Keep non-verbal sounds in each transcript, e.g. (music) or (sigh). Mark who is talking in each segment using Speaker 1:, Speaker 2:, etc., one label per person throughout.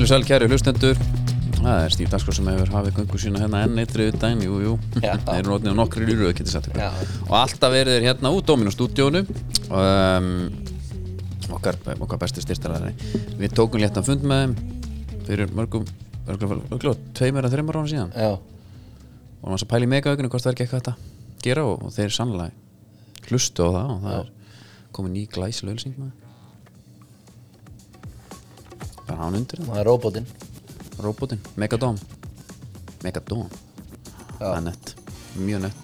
Speaker 1: og sæl kæri hlustendur Það er Stíf Daskar sem hefur hafið göngu sína hérna enn eitri utan, jú, jú
Speaker 2: Já.
Speaker 1: (laughs) Þeir eru notnið á nokkri lýru, það getur sagt
Speaker 2: Já.
Speaker 1: ykkur Og alltaf eru þeir hérna út, Dominus stúdíónu um, okkar, okkar besti styrtaræðari Við tókum léttan fund með þeim fyrir mörgum, örgulega, örgulega tveimur að þreimur ára síðan
Speaker 2: Já,
Speaker 1: og maður svo pæli í megaaukinu hvort það er ekki eitthvað þetta að gera og, og þeir sannlega hlustu á það og það er komið ný glæsileg ölsing maður bara hann undir
Speaker 2: það er robotinn
Speaker 1: það robotinn, Megadom Megadom, það er nett mjög nett,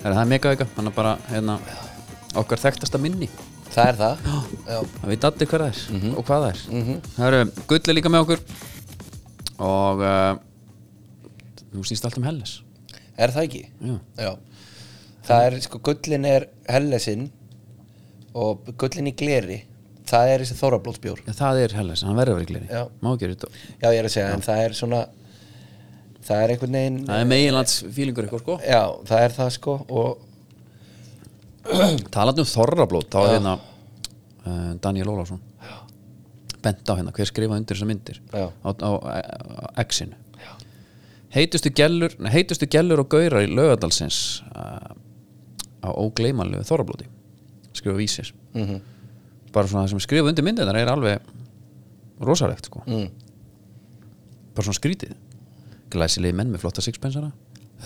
Speaker 1: Herra, það er megaauka hann er bara hérna okkar þekktasta minni,
Speaker 2: Það er það Já,
Speaker 1: það veit allir hver það er
Speaker 2: Mhm.
Speaker 1: og hvað það er það eru gull er líka með okkur og uh, nú snýst allt um Helles
Speaker 2: er það ekki?
Speaker 1: já,
Speaker 2: Já Það er, sko, gullin er hellesinn og gullin í gleri það er þessi þórablótsbjór
Speaker 1: Já, það er Helles, hann verður að vera í
Speaker 2: Já.
Speaker 1: gleri Má ekki þetta
Speaker 2: Já, ég er að segja, en það er svona það er einhvern veginn
Speaker 1: Það er meginlands fílingur eitthvað sko
Speaker 2: Já, það er það, sko og,
Speaker 1: Talandi um þorrablót, þá er hérna uh, Daniel Ólafsson bent á hérna, hver skrifaði undir þessar myndir
Speaker 2: Já.
Speaker 1: á, á, á X-inu Heitustu gellur nei, heitustu gellur og gaurar í lögadalsins uh, á ógleymanlegu þorrablóti skrifa vísir
Speaker 2: mm
Speaker 1: bara svona það sem skrifa undir myndirnar er alveg rosalegt sko
Speaker 2: mm,
Speaker 1: bara svona skrítið glæsilegi menn með flotta sixpensara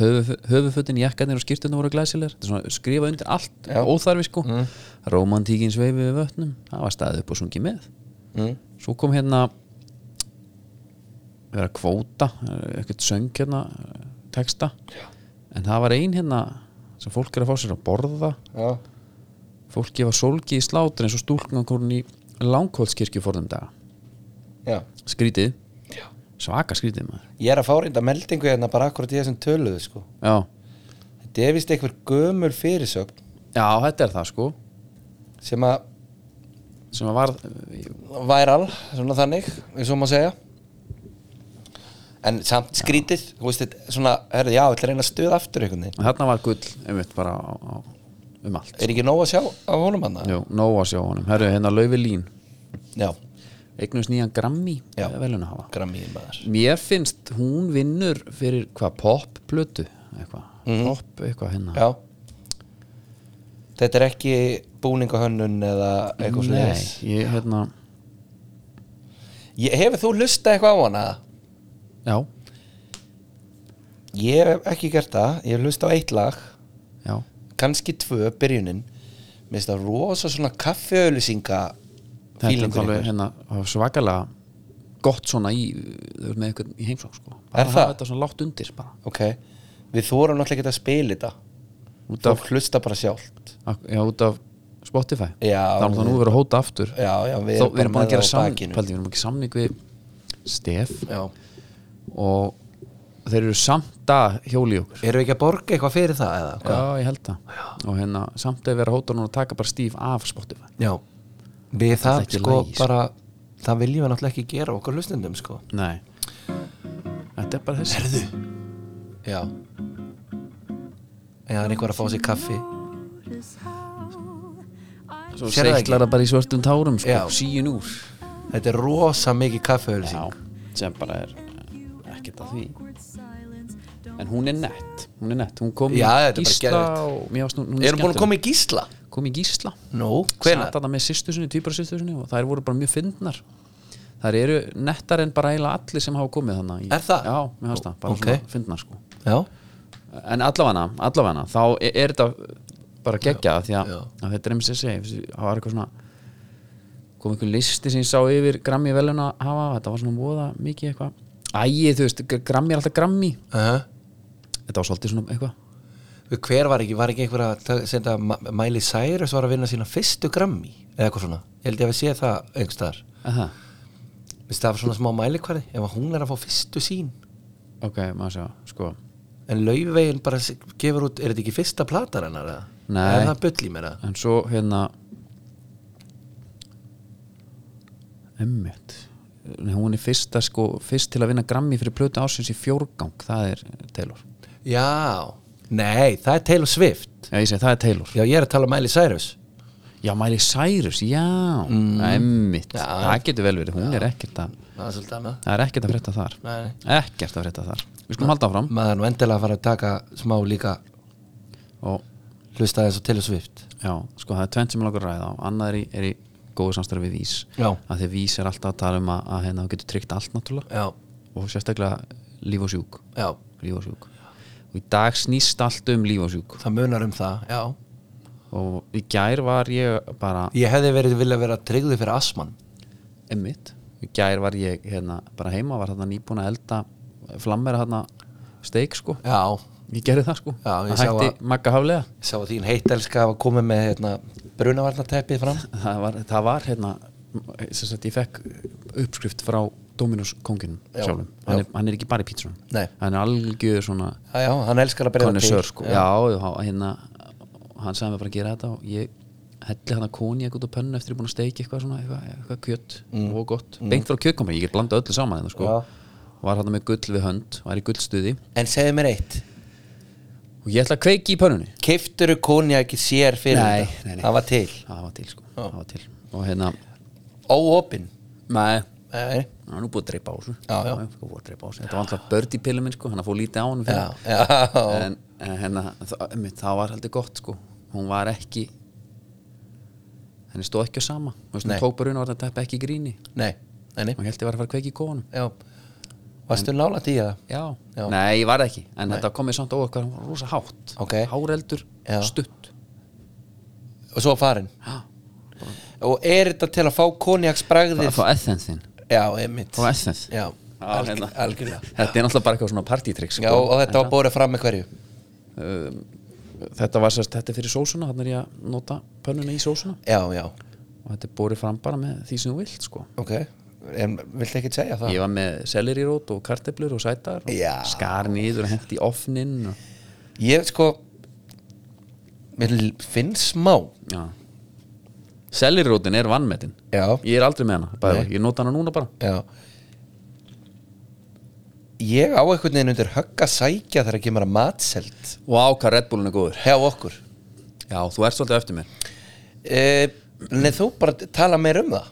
Speaker 1: Höfu, höfufutin, jakkanir og skýrtunum voru glæsilegar Þetta er svona skrifa undir allt
Speaker 2: Já.
Speaker 1: óþarfi sko, mm. romantíkin sveifi við vötnum, það var staðið upp og sungið með
Speaker 2: mm,
Speaker 1: svo kom hérna vera kvóta eh, ekkert söng hérna eh, texta, Já. en það var ein hérna sem fólk er að fá sér að borða
Speaker 2: Já,
Speaker 1: fólk gefa sólgi í slátur eins og stúlkunarkorn í langkóldskirkju forðum daga,
Speaker 2: já
Speaker 1: skrítið svaka skrítið maður
Speaker 2: Ég er að fá reynda meldingu hérna bara akkurat í þessum töluðu, sko
Speaker 1: Já.
Speaker 2: Þetta er vist einhver gömul fyrirsögn
Speaker 1: Já, þetta er það sko
Speaker 2: sem að
Speaker 1: sem að var
Speaker 2: væral, svona þannig eins og maður segja en samt skrítið þú veist þetta svona, herrðu, já, ætla að reyna að stuða aftur einhvern veginn,
Speaker 1: þarna var gull einmitt bara á, á, um allt
Speaker 2: er ekki nóg að sjá af honum hann
Speaker 1: Jú, nóg að sjá honum, herru hérna Laufi Lín
Speaker 2: já,
Speaker 1: eignust nýjan Grammy
Speaker 2: Já.
Speaker 1: velun að hafa
Speaker 2: Grammy maður
Speaker 1: Mér finnst hún vinnur fyrir hvað popplötu eitthvað pop eitthvað hérna
Speaker 2: Mhm. já þetta er ekki búningahönnun eða eitthvað svona
Speaker 1: Nei, ég hérna
Speaker 2: ég, hefur þú lustað eitthvað á hana?
Speaker 1: Já,
Speaker 2: ég hef ekki gert það, ég hef lustað á eitt lag
Speaker 1: já,
Speaker 2: kannski tvö, byrjunin mér finnst það rosa svona kaffiauðlýsinga
Speaker 1: þetta er alveg hérna svakalega gott svona í, þú veist, með eitthvað í heimsók sko.
Speaker 2: Er
Speaker 1: bara
Speaker 2: það?
Speaker 1: hafa þetta svona látt undir bara
Speaker 2: ok, við þórum náttúrulega ekki að spila þetta
Speaker 1: út af,
Speaker 2: fólk hlusta bara sjálft
Speaker 1: já, út af Spotify
Speaker 2: Já,
Speaker 1: þá er það nú verið að hóta aftur
Speaker 2: já, já, við
Speaker 1: Þó, við erum búin að gera
Speaker 2: það á
Speaker 1: samning
Speaker 2: bakinu.
Speaker 1: Paldi, við erum ekki samning við Stef
Speaker 2: já.
Speaker 1: og þeir eru samt að hjóli okkur
Speaker 2: erum við ekki að borga eitthvað fyrir það eða hvað?
Speaker 1: já, ég held það og hérna, samt að vera hóta núna að taka bara Steve af Spotify
Speaker 2: já, við það,
Speaker 1: ekki
Speaker 2: sko
Speaker 1: lagi, sko.
Speaker 2: bara það viljum við náttúrulega ekki gera okkar hlustendum sko
Speaker 1: nei þetta er bara þessi
Speaker 2: herðu já já, það er einhver að fá sér kaffi
Speaker 1: svo
Speaker 2: sérðu það ekki?
Speaker 1: seiklar það bara í svörtum tárum sko,
Speaker 2: Já.
Speaker 1: síun úr
Speaker 2: þetta er rosa mikið kaffiauðlýsing
Speaker 1: sem bara er eh, ekkert að því en hún er nett hún er nett, hún kom
Speaker 2: Já, þetta er bara
Speaker 1: í gísla
Speaker 2: geðveikt.
Speaker 1: og mér varst nú, hún
Speaker 2: erum búin að koma í gísla
Speaker 1: kom í gísla
Speaker 2: nú,
Speaker 1: Sat
Speaker 2: hvenær?
Speaker 1: þarna með sýstu sinni, tvíbara sýstu sinni og þær voru bara mjög fyndnar þær eru nettar en bara eiginlega allir sem hafa komið þannig
Speaker 2: Er það?
Speaker 1: Já, mér finnst það, bara
Speaker 2: Ok.
Speaker 1: svona fyndnar sko
Speaker 2: já,
Speaker 1: en allavega, allavega, þá er, er þetta bara geggja því að,
Speaker 2: já.
Speaker 1: að þetta er eins og ég segi það var eitthvað svona kom einhver listi sem ég sá yfir grammi velun að hafa, þetta var svona voða mikið eitthvað Æi, þú veist, grammi er alltaf grammi
Speaker 2: uh
Speaker 1: þetta var svolítið svona eitthvað
Speaker 2: hver var ekki, var ekki einhver að ta- senda Ma- Miley Cyrus var að vinna sína fyrstu grammi eða eitthvað svona, ég held ég að við séð það einhvers staðar
Speaker 1: Er það?
Speaker 2: Vist, það var svona smá mælikvarði ef að hún er að fá fyrstu sín
Speaker 1: ok, maður sjá, sko
Speaker 2: en laufvegin bara s- gefur út er þetta ekki fyrsta platar hennar eða?
Speaker 1: Nei.
Speaker 2: er það bull í mér eða?
Speaker 1: en svo hérna emmitt Nei, hún er fyrsta sko fyrst til að vinna grammi fyrir plötu ásins í fjórgang það er Taylor
Speaker 2: já, nei, það er Taylor Swift
Speaker 1: já ég segi það er Taylor
Speaker 2: já, ég er að tala um Miley Cyrus
Speaker 1: Já, Miley Cyrus, já Emmitt, það getur vel verið Hún er ekkert að,
Speaker 2: það er svolítið annað
Speaker 1: það er ekkert að frétta þar
Speaker 2: Nei, nei.
Speaker 1: Ekkert að frétta þar Við skulum halda áfram
Speaker 2: maður er nú endilega að fara að taka smá líka
Speaker 1: og
Speaker 2: hlusta eins og Taylor Swift
Speaker 1: já, sko það er tvennt sem mig langar að ræða á Annað er í, er í góðu samstarfi við Vís
Speaker 2: Já.
Speaker 1: að því Vís er alltaf að tala um að, að hérna þú getur tryggt allt náttúrulega
Speaker 2: já,
Speaker 1: og sérstaklega líf og sjúk
Speaker 2: já,
Speaker 1: líf og sjúk og í dag snýst allt um líf og sjúk
Speaker 2: það munar um það já.
Speaker 1: og í gær var ég bara
Speaker 2: ég hefði verið viljað vera tryggði fyrir asman
Speaker 1: emmitt, í gær var ég hérna bara heima, var hérna nýbúin að elda flammera hérna steik sko
Speaker 2: já,
Speaker 1: ég gerði það sko,
Speaker 2: Já, ég
Speaker 1: það
Speaker 2: sá
Speaker 1: hætti
Speaker 2: að-
Speaker 1: Magga Haflega
Speaker 2: ég sá að þín heitelska var komið með hérna, brunavarnateppið fram
Speaker 1: það var, það var hérna sem sagt ég fekk uppskrift frá Dominus konginum
Speaker 2: Já,
Speaker 1: sjálfum
Speaker 2: já.
Speaker 1: hann er, hann er ekki bara í pítsunum
Speaker 2: Nei.
Speaker 1: hann er algjör svona
Speaker 2: já, já, hann elskar að breyða
Speaker 1: konnesör sko já, já, hérna hann sagði mér bara að gera þetta og ég helli hann að koni út á pönnu eftir ég er búin að steiki eitthvað svona eitthvað, eitthvað kjött og gott beint frá kjöttkompani, ég get blandað öllu saman hérna, sko.
Speaker 2: Mm. Já.
Speaker 1: var hann með gull við hönd var í gullstuði
Speaker 2: en segðu mér eitt
Speaker 1: og ég ætla að kveiki í pönnunni
Speaker 2: keiftur konja ekki sér fyrir
Speaker 1: Nei,
Speaker 2: þetta
Speaker 1: nei, nei.
Speaker 2: það var til,
Speaker 1: það var til sko, það var til og hérna,
Speaker 2: óopin
Speaker 1: nei
Speaker 2: nei,
Speaker 1: Það er nú búið að dreipa á þessu
Speaker 2: Já, já.
Speaker 1: ég fór að dreipa á þessu Þetta var alltaf börd í pillu minn sko, hann að fór lítið á hann
Speaker 2: já, já
Speaker 1: En, en hérna, það, einmitt, það var heldur gott sko Hún var ekki Henni stóð ekki á sama Þú veist,
Speaker 2: Nei.
Speaker 1: Hún tók bara unna að teppa ekki í gríni
Speaker 2: (laughs) nei, nei, nei,
Speaker 1: Hún held ég var að fara að kveiki í kóanum
Speaker 2: já varstu nála í það?
Speaker 1: já.
Speaker 2: Já.
Speaker 1: Nei, ég var ekki En þetta kom mér samt óvart hvað hún var rosa hátt
Speaker 2: Ok.
Speaker 1: Háreldur,
Speaker 2: Já.
Speaker 1: stutt
Speaker 2: og svo farin
Speaker 1: Ha,
Speaker 2: og er þetta til að fá
Speaker 1: Það
Speaker 2: konjaksbragðið
Speaker 1: fá essence þinn
Speaker 2: já, einmitt
Speaker 1: Fá essence
Speaker 2: já,
Speaker 1: Á,
Speaker 2: alg,
Speaker 1: hérna.
Speaker 2: algjörlega
Speaker 1: Þetta er náttúrulega bara eitthvað svona sko. partytricks
Speaker 2: já, og þetta var borðið fram með hverju
Speaker 1: um, þetta var sérst, þetta er fyrir sósuna þannig er ég að nota pönnuna í sósuna
Speaker 2: já, já,
Speaker 1: og þetta er borið fram bara með því sem þú vilt sko.
Speaker 2: ok en viltu ekki segja það?
Speaker 1: ég var með sellerirót og karteblur og sætar og
Speaker 2: Já.
Speaker 1: skar nýður og hent í ofnin og,
Speaker 2: ég sko mér l- finnst smá
Speaker 1: já sellerirótin er vannmetin
Speaker 2: já,
Speaker 1: ég er aldrei með hana, bara, ég nota hana núna bara
Speaker 2: já ég á einhvern veginn undir högg að sækja þegar kemur að matselt
Speaker 1: og ákvað Red Bullin er góður
Speaker 2: hjá okkur
Speaker 1: já, þú ert svolítið eftir mér
Speaker 2: e, neð þú bara tala meir um það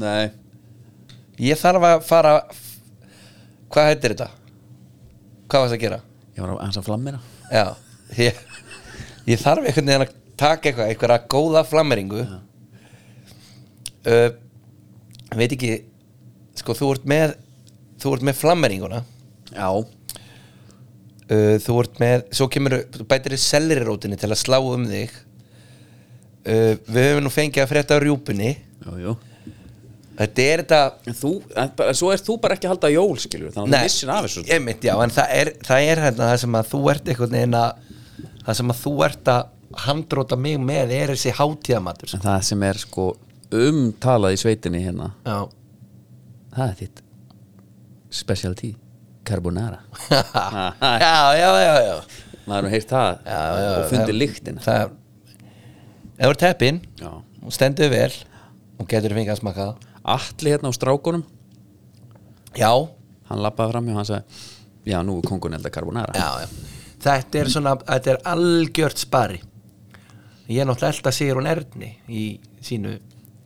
Speaker 1: nei,
Speaker 2: ég þarf að fara hvað heitir þetta? hvað varst að gera?
Speaker 1: ég var að hans að flammera
Speaker 2: Já, ég, ég þarf einhvern veginn að taka eitthvað, einhverja góða flammeringu uh, veit ekki sko, þú ert með þú ert með flammeringuna
Speaker 1: já,
Speaker 2: uh, þú ert með, svo kemur þú bætir í sellirirótinni til að slá um þig uh, við höfum nú fengið að frétta á rjúpunni
Speaker 1: jú, jú
Speaker 2: þetta er þetta
Speaker 1: en þú, en, bara- svo er þú bara ekki að halda jól skilur, þannig að þú missir af þessu
Speaker 2: einmitt, já, en það er, það er hérna það sem að þú ert einhvern veginn að það sem að þú ert að handróta mig með er þessi hátíðamatur
Speaker 1: en það sem er sko umtalað í sveitinni hérna (laughs)
Speaker 2: já,
Speaker 1: það er þitt specialty carbonara
Speaker 2: já, já, já, já.
Speaker 1: maður hefur heyrt það
Speaker 2: Já, já,
Speaker 1: og fundið
Speaker 2: það-
Speaker 1: lyktina
Speaker 2: það ef þú ert teppin
Speaker 1: Já.
Speaker 2: og stendur vel og getur fengið að smakka það
Speaker 1: allir hérna á strákunum
Speaker 2: já,
Speaker 1: hann lappaði fram og hann sagði já nú er kongun elda carbonara
Speaker 2: já, já þetta er svona, þetta er algjört spari ég er náttúrulega elda sigur hún erðni í sínu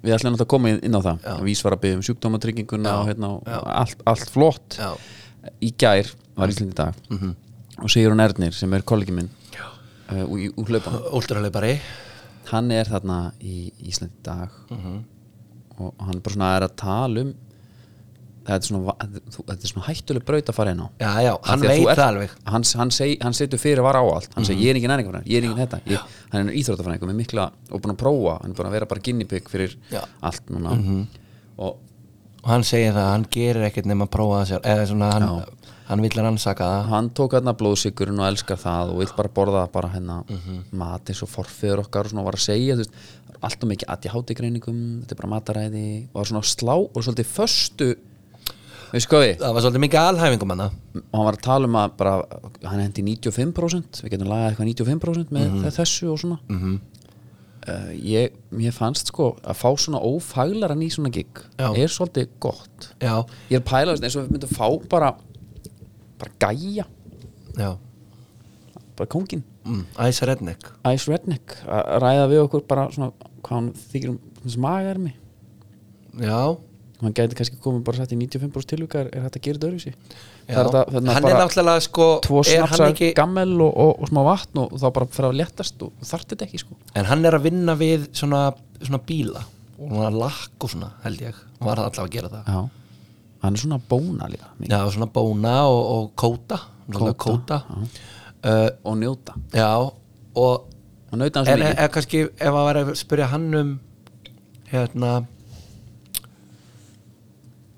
Speaker 1: við ætlum náttúrulega að koma inn á það já. vís var að byggja um sjúkdómatrygginguna og hérna og allt, allt flott
Speaker 2: Já. Mhm.
Speaker 1: í gær var Íslandi dag -hmm. og Sigur hún Ernir sem er kollegi minn uh, úr, úr hlaupan
Speaker 2: últralegari
Speaker 1: hann er þarna í Íslandi í dag
Speaker 2: Mhm.
Speaker 1: og hann bara svona er að tala um þetta er svona, va- þú- þetta er svona hættuleg braut að fara inn á
Speaker 2: já, já,
Speaker 1: Af
Speaker 2: hann
Speaker 1: því að þú ert-
Speaker 2: veit
Speaker 1: Mhm.
Speaker 2: það alveg
Speaker 1: hann, hann, seg, hann setur fyrir var á allt hann segir ég er engin enningafræðin, ég er engin þetta ég, hann er íþróttafræðingur með mikla og búin að prófa hann er búin að vera bara ginnipygg fyrir
Speaker 2: Já.
Speaker 1: allt núna og
Speaker 2: og hann segir það að hann gerir ekkert nema að prófa það sér eða svona hann, hann vill að rannsaka það
Speaker 1: hann tók hérna blóðsikurinn og elskar það og vill bara borða bara hérna mat eins og forfeður okkar og svona var að segja þú veist, það er allt og mikið ADHD greiningum þetta er bara mataræði og var svona að slá og svolítið föstu veist hvað við
Speaker 2: það var svolítið mikið alhæfingum hann
Speaker 1: og hann var að tala um að bara, hann hendi 95% við getum lagað eitthvað 95% með
Speaker 2: Mhm.
Speaker 1: þessu og svona mm -hmm. ég, ég fannst sko að fá svona ófaglaran í svona gig
Speaker 2: Já.
Speaker 1: er svolítið gott
Speaker 2: já,
Speaker 1: ég er pælaðist eins og við myndum fá bara bara gæja,
Speaker 2: já,
Speaker 1: bara kóngin
Speaker 2: mm, æsa redneck
Speaker 1: Ice Redneck að ræða við okkur bara svona hvað hann þykir um hans magarmi
Speaker 2: Já
Speaker 1: hann gæti kannski komið bara satt í 95% tilvíkar er hægt að gera þetta öðruvísi
Speaker 2: Já.
Speaker 1: það er þetta þannig
Speaker 2: hann
Speaker 1: að
Speaker 2: er
Speaker 1: bara
Speaker 2: náttúrulega sko
Speaker 1: tvo
Speaker 2: er hann
Speaker 1: snapsa
Speaker 2: ekki,
Speaker 1: gammel og, og, og smá vatn og þá bara fyrir að léttast og þarft þetta ekki sko
Speaker 2: en hann er að vinna við svona, svona bíla og svona lakk og svona held ég hann var alltaf að gera það
Speaker 1: já. hann er svona bóna líka mikið.
Speaker 2: já, og svona bóna og, og kóta kóta,
Speaker 1: Kóta,
Speaker 2: kóta. Uh,
Speaker 1: og njóta
Speaker 2: já og
Speaker 1: og njóta hans
Speaker 2: en,
Speaker 1: mikið
Speaker 2: en kannski ef að vera að spyrja hann um hérna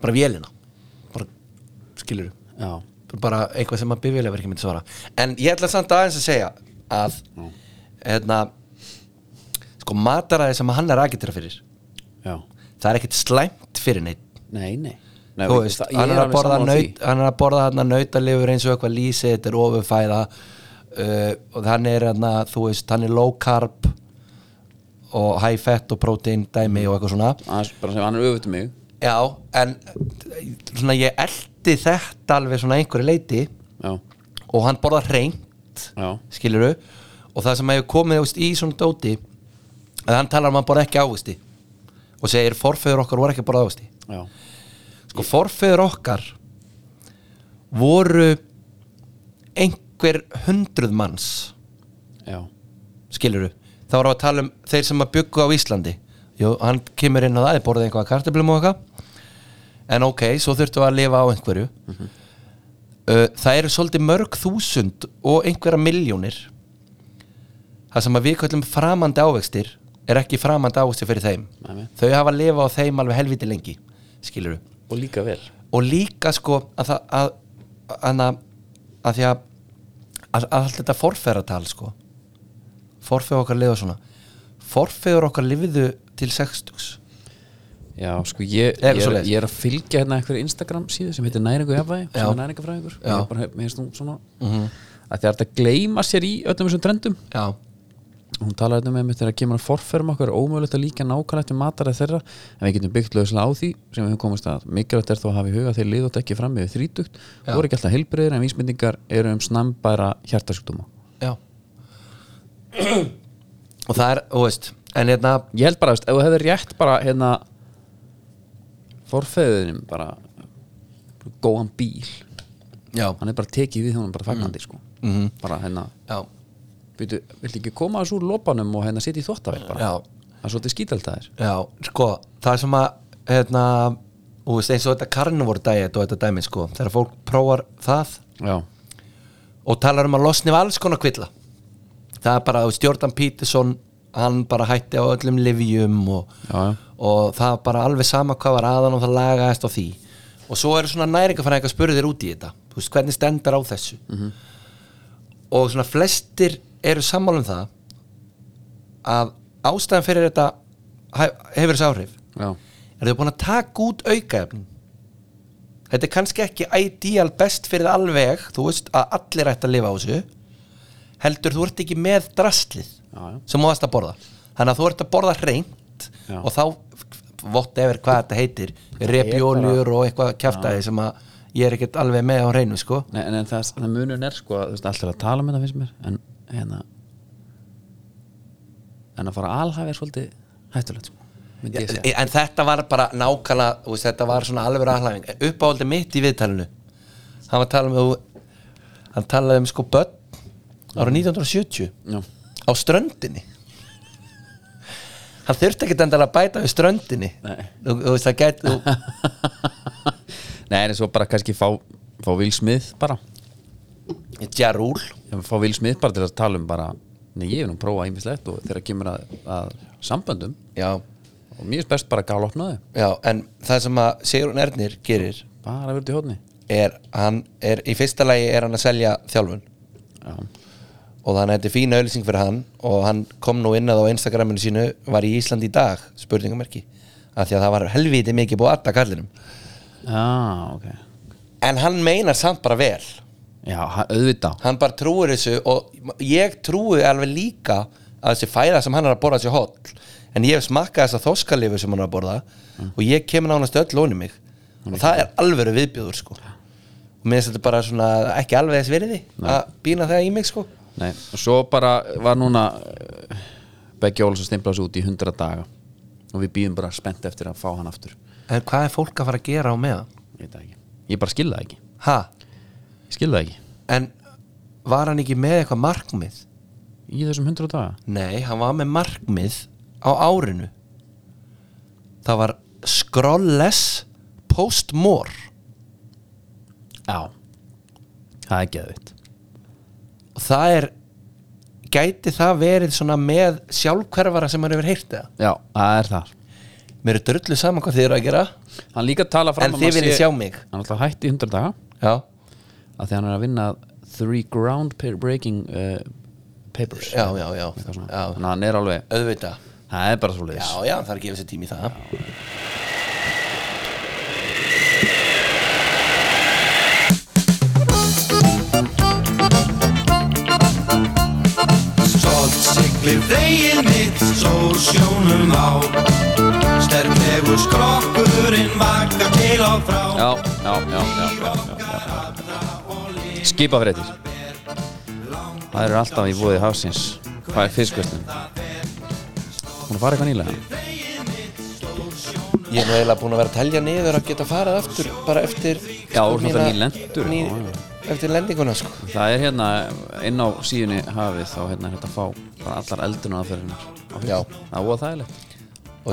Speaker 2: bara vélina bara skilur
Speaker 1: já,
Speaker 2: bara eitthvað sem að bifjölega verið ekki myndi svara en ég ætla samt aðeins að segja að hérna sko mataræði sem að hann er aðgættir fyrir
Speaker 1: já,
Speaker 2: það er ekkit slæmt fyrir neitt
Speaker 1: nei, nei, nei
Speaker 2: þú
Speaker 1: við-
Speaker 2: veist,
Speaker 1: það- ég
Speaker 2: hann er, að
Speaker 1: alveg
Speaker 2: borða
Speaker 1: sammála því.
Speaker 2: naut, hann er að borða þarna nautalifur eins og eitthvað lýsi, þetta er ofurfæða uh, og hann er þarna, þú veist, hann er low carb og high fat og protein dæmi og eitthvað svona
Speaker 1: Aðeins bara sem hann er öfutt um mig
Speaker 2: já, en eh, svona ég eldi þetta alveg svona einhverju leiti
Speaker 1: já,
Speaker 2: og hann borða hreint
Speaker 1: já,
Speaker 2: skiluru og það sem hefur komið þú veist, í svona dóti að hann talar um að hann borða ekki ávisti og segir forfeður okkar voru ekki að borða ávisti
Speaker 1: já,
Speaker 2: sko forfeður okkar voru einhver hundruð manns
Speaker 1: já,
Speaker 2: skiluru, þá voru að tala um þeir sem að byggu á Íslandi Jú, hann kemur inn á það, þeir borðið einhvað kartöflum og eitthvað en ok, svo þurftu að lifa á einhverju uh, það eru svolítið mörg þúsund og einhverja miljónir það sem að við kallum framandi ávextir er ekki framandi ávextir fyrir þeim
Speaker 1: Nei, nei.
Speaker 2: þau hafa að lifa á þeim alveg helviti lengi skiluru
Speaker 1: og líka vel
Speaker 2: og líka sko að það að, að, að, að því að, að, að allt þetta forfeðratal sko forfeður okkar lifa svona forfeður okkar lifiðu til 60
Speaker 1: Já, sko, ég,
Speaker 2: Eða
Speaker 1: ég, er,
Speaker 2: svoleiðis.
Speaker 1: ég er að fylgja hérna einhverju Instagram síðu sem heitir næringu jafnvægi sem
Speaker 2: Já.
Speaker 1: er næringafræðingur
Speaker 2: Já. Mhm.
Speaker 1: Ég er bara, mér finnst hún svona að það er hægt að gleyma sér í öllum þessum trendum
Speaker 2: já,
Speaker 1: hún talaði þetta með mér þegar kemur að forferðum okkar er ómögulegt að líka nákvæmlega til matarið þeirra en við getum byggt lögislega á því sem við höfum komast að mikilvægt er þó að hafa í huga að þeir liðótt ekki fram yfir þrítugt og eru ekki alltaf heilbreyðir en vísmyndingar eru um snambæra hjartasjúkdóma
Speaker 2: já og það er, þú veist en hérna,
Speaker 1: ég held bara, veist, ef þú hefur rétt bara hérna forfeðunum bara góðan bíl
Speaker 2: já,
Speaker 1: hann er bara tekið við húnum bara fagnandi sko.
Speaker 2: Mhm.
Speaker 1: bara hérna
Speaker 2: já
Speaker 1: byrju, viltu ekki koma þessu úr lopanum og hérna sitja í þvóttavél bara
Speaker 2: Já.
Speaker 1: það er svolítið skítaldæðir
Speaker 2: já, sko, það sem að hérna, þú veist eins og þetta karnivor dæið og þetta dæmi sko, þegar fólk prófar það
Speaker 1: já,
Speaker 2: og talar um að losni við alls konar kvilla það er bara þú veist, Jordan Peterson hann bara hætti á öllum livjum og,
Speaker 1: Já, já.
Speaker 2: og það var bara alveg sama hvað var aðan og það lagaðist á því og svo eru svona næringafræðingar að spurðu þér út í þetta þú veist, hvernig stendur á þessu og svona flestir eru sammála um það að ástæðan fyrir þetta hæ- hefur þessi áhrif
Speaker 1: já,
Speaker 2: er þau búin að taka út aukaefnin þetta er kannski ekki ideal best fyrir það alveg þú veist að allir ætti að lifa á þessu heldur þú ert ekki með drastlið
Speaker 1: já, já.
Speaker 2: sem þú varst að borða þannig að þú ert að borða hreint
Speaker 1: Já.
Speaker 2: og þá vott efir hvað þetta heitir repjónur og eitthvað kjaftaði sem að ég er ekkert alveg með á hreinu sko
Speaker 1: Nei, en, en það, það munur er sko að, þú veist, allt er að tala með það finnst mér en hérna en að fara að alhæfi er svolítið hættulegt sko, myndi ég segja
Speaker 2: en þetta var bara nákvæmlega þú veist, þetta var svona alveg aðhæfing uppáhaldi mitt í viðtalinu hann var að tala um þú- hann talaði um sko börn ára 1970
Speaker 1: já, (laughs)
Speaker 2: á ströndinni hann þurfti ekkert endala að bæta við ströndinni
Speaker 1: Nei.
Speaker 2: þú, þú veist það gæti þú,
Speaker 1: nei, en svo bara kannski fá, fá vilsmið bara
Speaker 2: Jarúl
Speaker 1: Ég fá vilsmið bara til að tala um bara nei, ég hef nú prófað ímislegt og þegar kemur að, að samböndum
Speaker 2: já,
Speaker 1: og mér er best bara að gala opna þau
Speaker 2: já, en það sem að Sigrun Ernir gerir
Speaker 1: bara að vera til hóðni
Speaker 2: er, hann er, í fyrsta lagi er hann að selja þjálfun
Speaker 1: já,
Speaker 2: og þannig að þetta er fín auðlýsing fyrir hann og hann kom nú inn að á Instagraminu sínu var í Ísland í dag, spurningamerki af því að það var helviti mikið búið aðta kallinum
Speaker 1: já Ah, ok
Speaker 2: en hann meinar samt bara vel
Speaker 1: já, ha- auðvitað
Speaker 2: hann bara trúir þessu og ég trúi alveg líka að þessi fæða sem hann er að borða sér holl en ég hef smakkað þessa þoskalifu sem hann er að borða og ég kemur nánast öll óni mig og það er alvöru viðbjóður sko og mér finnst þetta bara svona ekki alveg þess virði að býna það í mig sko
Speaker 1: Nei, og svo bara var núna eh, beggja ólis að stimpla þessu út í 100 daga og við býðum bara spennt eftir að fá hann aftur
Speaker 2: En hvað er fólk að fara að gera á meðan?
Speaker 1: ég, veit það ekki. ég bara skil það ekki
Speaker 2: Ha?
Speaker 1: ég skil það ekki
Speaker 2: En var hann ekki með eitthvað markmið?
Speaker 1: í þessum 100 daga
Speaker 2: Nei, hann var með markmið á árinu Það var scrollless post-more
Speaker 1: já það er geðvitt
Speaker 2: og það er gæti það verið svona með sjálfhverfara sem hann hefur heyrt það
Speaker 1: já, það er þar
Speaker 2: Mér er drullu saman hvað þið eru að gera
Speaker 1: hann líka tala fram um
Speaker 2: En
Speaker 1: að
Speaker 2: þið
Speaker 1: maður
Speaker 2: viljið
Speaker 1: sé-
Speaker 2: sjá mig.
Speaker 1: hann alltaf hætti í 100 daga
Speaker 2: Já,
Speaker 1: að því hann er að vinna three ground pa- breaking uh, papers
Speaker 2: já, já, já,
Speaker 1: Eitthvað svona.
Speaker 2: já.
Speaker 1: þannig að hann er alveg
Speaker 2: Auðvitað
Speaker 1: það er bara svo leiðis
Speaker 2: Já, já, það er að gefa sér tími í það
Speaker 3: Stolt siglir veginn mitt, sól sjónum á Sterk hefur skrokkurinn vaka til á frá
Speaker 1: já, já, já, já, já, já, já. skipafréttir það eru alltaf í búið hafsins hvað er fiskvöldin hún var eitthvað nýlega
Speaker 2: Ég er nú eiginlega búin að vera að telja niður að geta farið aftur bara eftir
Speaker 1: Já,
Speaker 2: sko,
Speaker 1: svona þetta
Speaker 2: mína-
Speaker 1: ný lendur.
Speaker 2: ný,
Speaker 1: Já,
Speaker 2: Eftir lendinguna sko
Speaker 1: það er hérna inn á síðunni hafið þá hérna er hægt að fá bara allar eldunaðferðinar
Speaker 2: Já.
Speaker 1: það er óa þægilegt
Speaker 2: Og